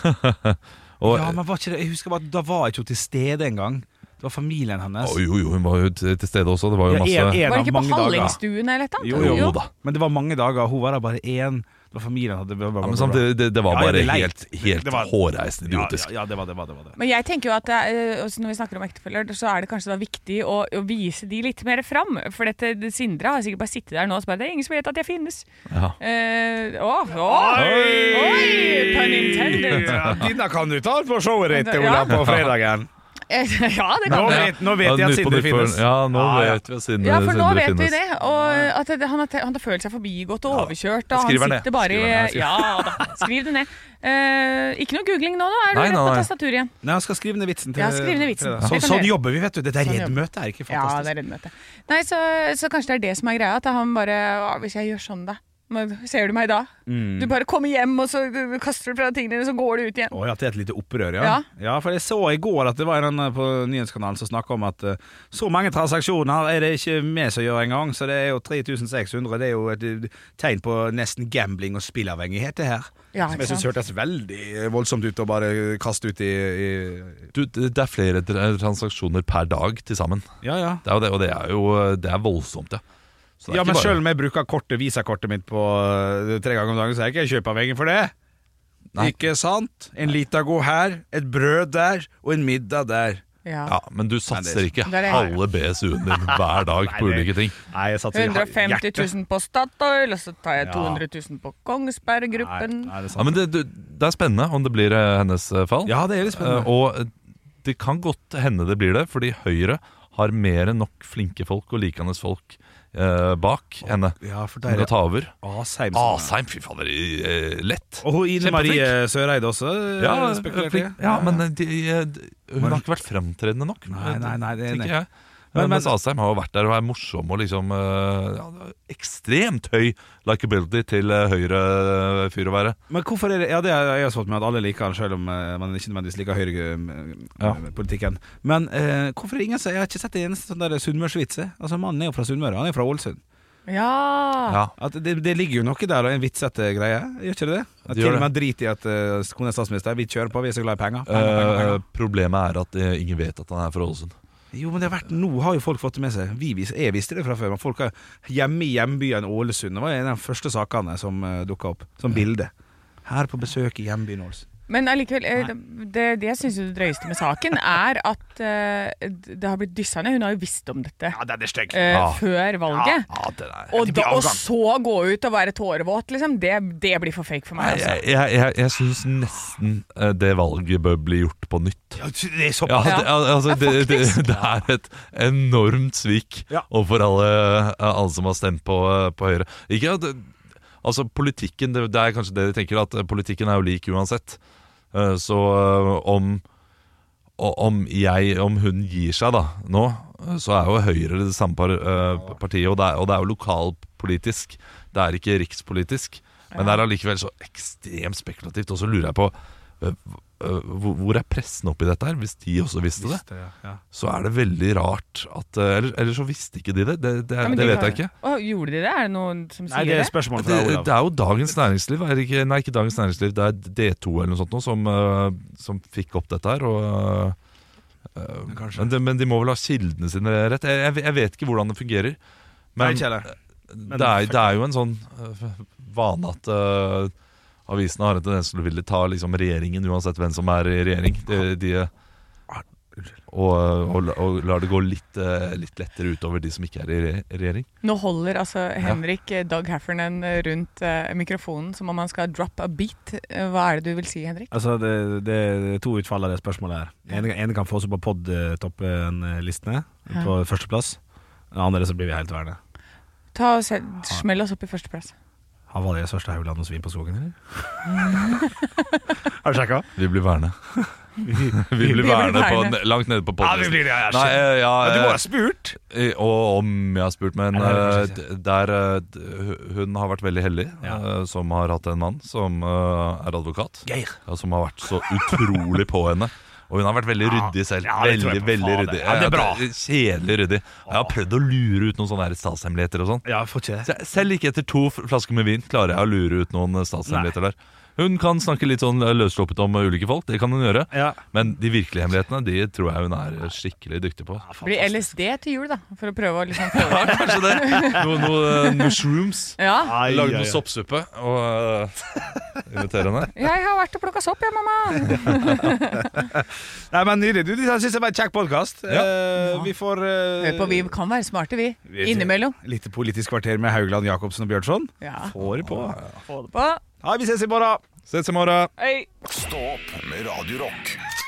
B: og,
C: ja, men var ikke det Jeg husker bare at da var ikke hun til stede engang. Det var familien hennes.
B: Å, jo, jo, hun var jo til til stede også. Det var jo
C: Ja, en-
B: masse
C: en
D: Var
C: av
D: det ikke på
C: mange dager.
D: Hallingstuen eller noe?
C: Jo, jo,
B: Jo da.
C: Men det var mange dager. Hun var der bare én. Det var familien hadde bla, bla,
B: ja,
C: bla, bla,
B: Men
C: bla.
B: samtidig, det, det var
C: Ja, ja,
B: bare
C: det er leit.
B: helt,
C: Det-
B: helt
C: det var-
B: hårreisende
C: Ja,
B: idiotisk.
C: Ja, ja, det var det. var det, var det.
D: Men jeg tenker jo at det er, eh, også når vi snakker om ektefeller, så er det kanskje da viktig å, å vise de litt mer fram. For dette, det- Sindre har sikkert bare sittet der nå og så bare Det er ingen som vet at jeg finnes.
B: Ja.
D: Eh, å, å, Oi! Pun intended.
C: Ja, Denne kan du ta på showet ditt,
D: Ja.
C: Ola, på fredagen.
D: Eh, ja, det
C: Nå
D: kan
C: vet, nå vet jeg
B: Ja,
C: at
B: Nytt på
C: Sindre
B: Nytt for-
C: finnes.
B: Ja, nå
C: Ja, ja.
B: vet vi at Sindre,
D: Ja, for nå
B: Sindre
D: vet vi
B: finnes.
D: det. Og at det, han, har, te- han har følt seg forbigått og overkjørt. Og
B: Skriver
D: han
B: ned.
D: sitter bare i
B: Skriver ned, skriver.
D: Ja da, skriv det ned. Eh, ikke noe googling nå, nå er du
B: Nei,
D: rett
B: nei,
D: på
B: nei.
D: tastaturet igjen.
C: Nei, han skal skrive ned vitsen til
D: Ja, skriv ned vitsen.
C: fredag.
D: Det
C: Sånn,
D: kan
C: sånn
D: jeg.
C: jobber vi, vet du. Dette
D: Sånn jobber
C: reddmøtet er ikke
D: Ja, det
C: fantastisk.
D: er reddmøte. Nei, så, så kanskje det er det som er greia. At han bare «Å, Hvis jeg gjør sånn, da. Men Ser du meg da? Du bare kommer hjem, og så du, kaster du fra deg tingene dine, så går du ut igjen.
C: Å ja, at det er et lite opprør, ja. ja.
D: Ja.
C: For jeg så i går at det var en eh, på nyhetskanalen som snakka om at eh, så mange transaksjoner er det ikke vi som gjør engang, så det er jo 3600. Det er jo et eh, tegn på nesten gambling og spillavhengighet, det her.
D: Ja,
C: som
D: ikke
C: jeg syns
D: sant?
C: hørtes veldig voldsomt ut å bare kaste ut i, i
B: Du, det det er flere tra- transaksjoner per dag til sammen.
C: Ja, ja.
B: Det er jo det, og det er jo eh, det er voldsomt, ja. Så det er
C: Ja,
B: ikke
C: men
B: bare-
C: selv om jeg bruker kortet, visakortet mitt på eh, tre ganger om dagen, så er jeg ikke kjøpeavhengig for det.
B: Nei.
C: Ikke sant? En Litago her, et brød der, og en middag der.
D: Ja.
B: ja, Men du satser ikke
D: Det er det.
B: halve BSU-en din hver dag på
C: Nei, det-
B: ulike ting.
C: Nei, jeg satser
D: 150 000 på Statoil, og så tar jeg
C: Ja.
D: 200 000 på Kongsberg Gruppen.
C: Nei, nei, det er
B: Ja,
C: sant.
B: men det, du- det er spennende om det blir eh, hennes eh, fall.
C: Ja, det er litt
B: Eh,
C: spennende.
B: Og eh, det kan godt hende det blir det, fordi Høyre har mer enn nok flinke folk og likende folk eh, bak henne.
C: ja, for
B: Som
C: der
B: kan
C: er
B: ta over.
C: Asheim. som er-
B: Asheim, fy fader, eh, lett!
C: Og hun Ine
B: Kjempeflink.
C: Marie Søreide også, eh,
B: Ja,
C: spekulerte
B: flink.
C: jeg.
B: ja, men eh, de, eh, de- hun har ikke vært fremtredende nok. eh,
C: Nei, nei, nei, det er
B: tenker
C: enig.
B: jeg.
C: Men-
B: Men,
C: men-
B: Mens Asheim har jo vært der og er morsom og liksom eh, ja, ekstremt høy likability til eh, høyre eh, fyr å være.
C: Men hvorfor er det Ja, det har jeg også fått med at alle liker han, selv om eh, man ikke nødvendigvis liker
B: Ja.
C: Høyre-politikken. Men eh, hvorfor er det ingen som Jeg har ikke sett en eneste sånn der sunnmørsvits. jeg. Altså, mannen er jo fra Sunnmøre, han er fra Ålesund.
D: Ja. Ah.
B: Ja.
C: At det, det ligger jo noe der og en vitsete greie, gjør ikke det det? At
B: Det gjør
C: til og
B: det.
C: med drit i at uh, kona er statsminister, vi kjører på, vi er så glad i penger. penger, penger,
B: Eh,
C: penger.
B: problemet er at eh, ingen vet at han er fra Ålesund.
C: Jo, men det har vært, nå har jo folk fått det med seg. Vi, vis- jeg visste det fra før, men folk har hjemme i hjembyen Ålesund. Det var en av de første sakene som uh, dukka opp, som bilde. Her på besøk i hjembyen Ålesund.
D: Men allikevel, eh, det, det- det jeg syns er det drøyeste med saken, er at eh, det har blitt dyssa ned. Hun har jo visst om dette
C: Ja, den er stygg.
D: eh,
B: Ja.
D: før valget.
B: Ja, det er
D: Og, da, og
C: avgang.
D: så gå ut og være tårevåt, liksom. Det, det blir for fake for meg. Altså.
B: Jeg, jeg, jeg, jeg syns nesten eh, det valget bør bli gjort på nytt.
C: Det er
B: Ja,
C: såpass.
B: det, al- altså,
D: Ja,
B: det, det,
D: faktisk.
B: det er et enormt svik
C: Ja.
B: overfor alle, eh, alle som har stemt på, eh, på Høyre. Ikke at Altså, politikken det, det er kanskje det de tenker, at eh, politikken er jo lik uansett. Eh, Så eh, om, o- om jeg Om hun gir seg da nå, eh, så er jo Høyre det samme par, eh, partiet, og det, er, og det er jo lokalpolitisk. Det er ikke rikspolitisk. Men det er allikevel så ekstremt spekulativt, og så lurer jeg på eh, eh, hvor hvor er pressen oppi dette her, hvis de også visste det?
C: Visste det, ja.
B: Så er det veldig rart at eh, Eller, eller så visste ikke de det. Det, det,
D: Ja, men
B: det
D: de
B: vet
D: har-
B: jeg ikke.
D: Å, gjorde de det? Er det noen som sier
C: Nei, det
D: det?
C: er spørsmål
B: Det,
C: fra Olav.
B: det er jo Dagens Næringsliv, er det ikke, nei ikke Dagens Næringsliv, det er D2 eller noe sånt nå, som, eh, som fikk opp dette her. Og, eh, Eh,
C: kanskje.
B: men, de, men de må vel ha kildene sine rett. Jeg, jeg, jeg vet ikke hvordan det fungerer.
C: Nei,
B: Men
C: ikke heller.
B: det, er, det er jo en sånn eh, vane at eh, avisene har en tendens til å ville ta liksom, regjeringen uansett hvem som er i regjering. De, de,
C: Ah,
B: og, og, og lar det gå litt, eh, litt lettere utover de som ikke er i re regjering.
D: Nå holder altså Henrik eh, Doug Heffernan eh, rundt eh, mikrofonen som om han skal drop a beat. Eh, Hva er det du vil si, Henrik?
C: Altså, det, det er to utfall av det spørsmålet her. Den ene, ene kan få oss opp på eh, podtoppen-listene, på førsteplass. Den andre så blir vi helt værende.
D: Ta og se, Smell oss opp i førsteplass.
C: Han var det største haugland og svin på skogen, eller? Har du sjekka?
B: Vi blir værende. Vi blir værende på,
D: værende.
B: langt nede på
C: Ja,
B: podden.
C: vi blir det. Ja,
B: Nei,
C: shit.
B: eh, ja,
C: Ja, du
B: eh,
C: må ha spurt!
B: I- Og om jeg har spurt, men
C: Nei, det har
B: eh,
C: jeg kanskje
B: d- der eh, d- hu- Hun har vært veldig heldig,
C: Ja.
B: eh, som har hatt en mann som eh, er advokat.
C: Geir.
B: ja, Som har vært så utrolig på henne. Og hun har vært veldig ryddig selv.
C: ja, det tror
B: veldig,
C: jeg på.
B: veldig
C: Fader.
B: ryddig
C: Ja, det er bra.
B: Kjedelig ryddig. Jeg har prøvd å lure ut noen sånne her statshemmeligheter og sånn.
C: Ja, får ikke det.
B: Se- Selv ikke etter to f- flasker med vin klarer jeg å lure ut noen eh, statshemmeligheter der. Hun kan snakke litt sånn eh, løssluppet om eh, ulike folk, det kan hun gjøre.
C: Ja.
B: Men de virkelige hemmelighetene de tror jeg hun er eh, skikkelig dyktig på.
D: Blir LSD til jul, da? For å prøve å liksom få det.
B: Kanskje det. Noe, noe eh, mushrooms.
D: Ja,
B: Lagd noe soppsuppe og eh, invitere henne.
D: jeg har vært og plukka sopp, jeg, mamma.
C: Nei, men Nydelig. Du, Dette syns jeg var en kjekk podkast.
B: Ja.
C: Vi får eh,
D: Hør på, vi kan være smarte, vi. Innimellom.
C: Litt politisk kvarter med Haugland, Jacobsen og Bjørnson.
D: Ja.
C: Får på.
D: Få det på.
C: Ja, vi ses i morgen.
B: Ses i morgen.
D: Hei.
A: Stå opp med Radio Rock.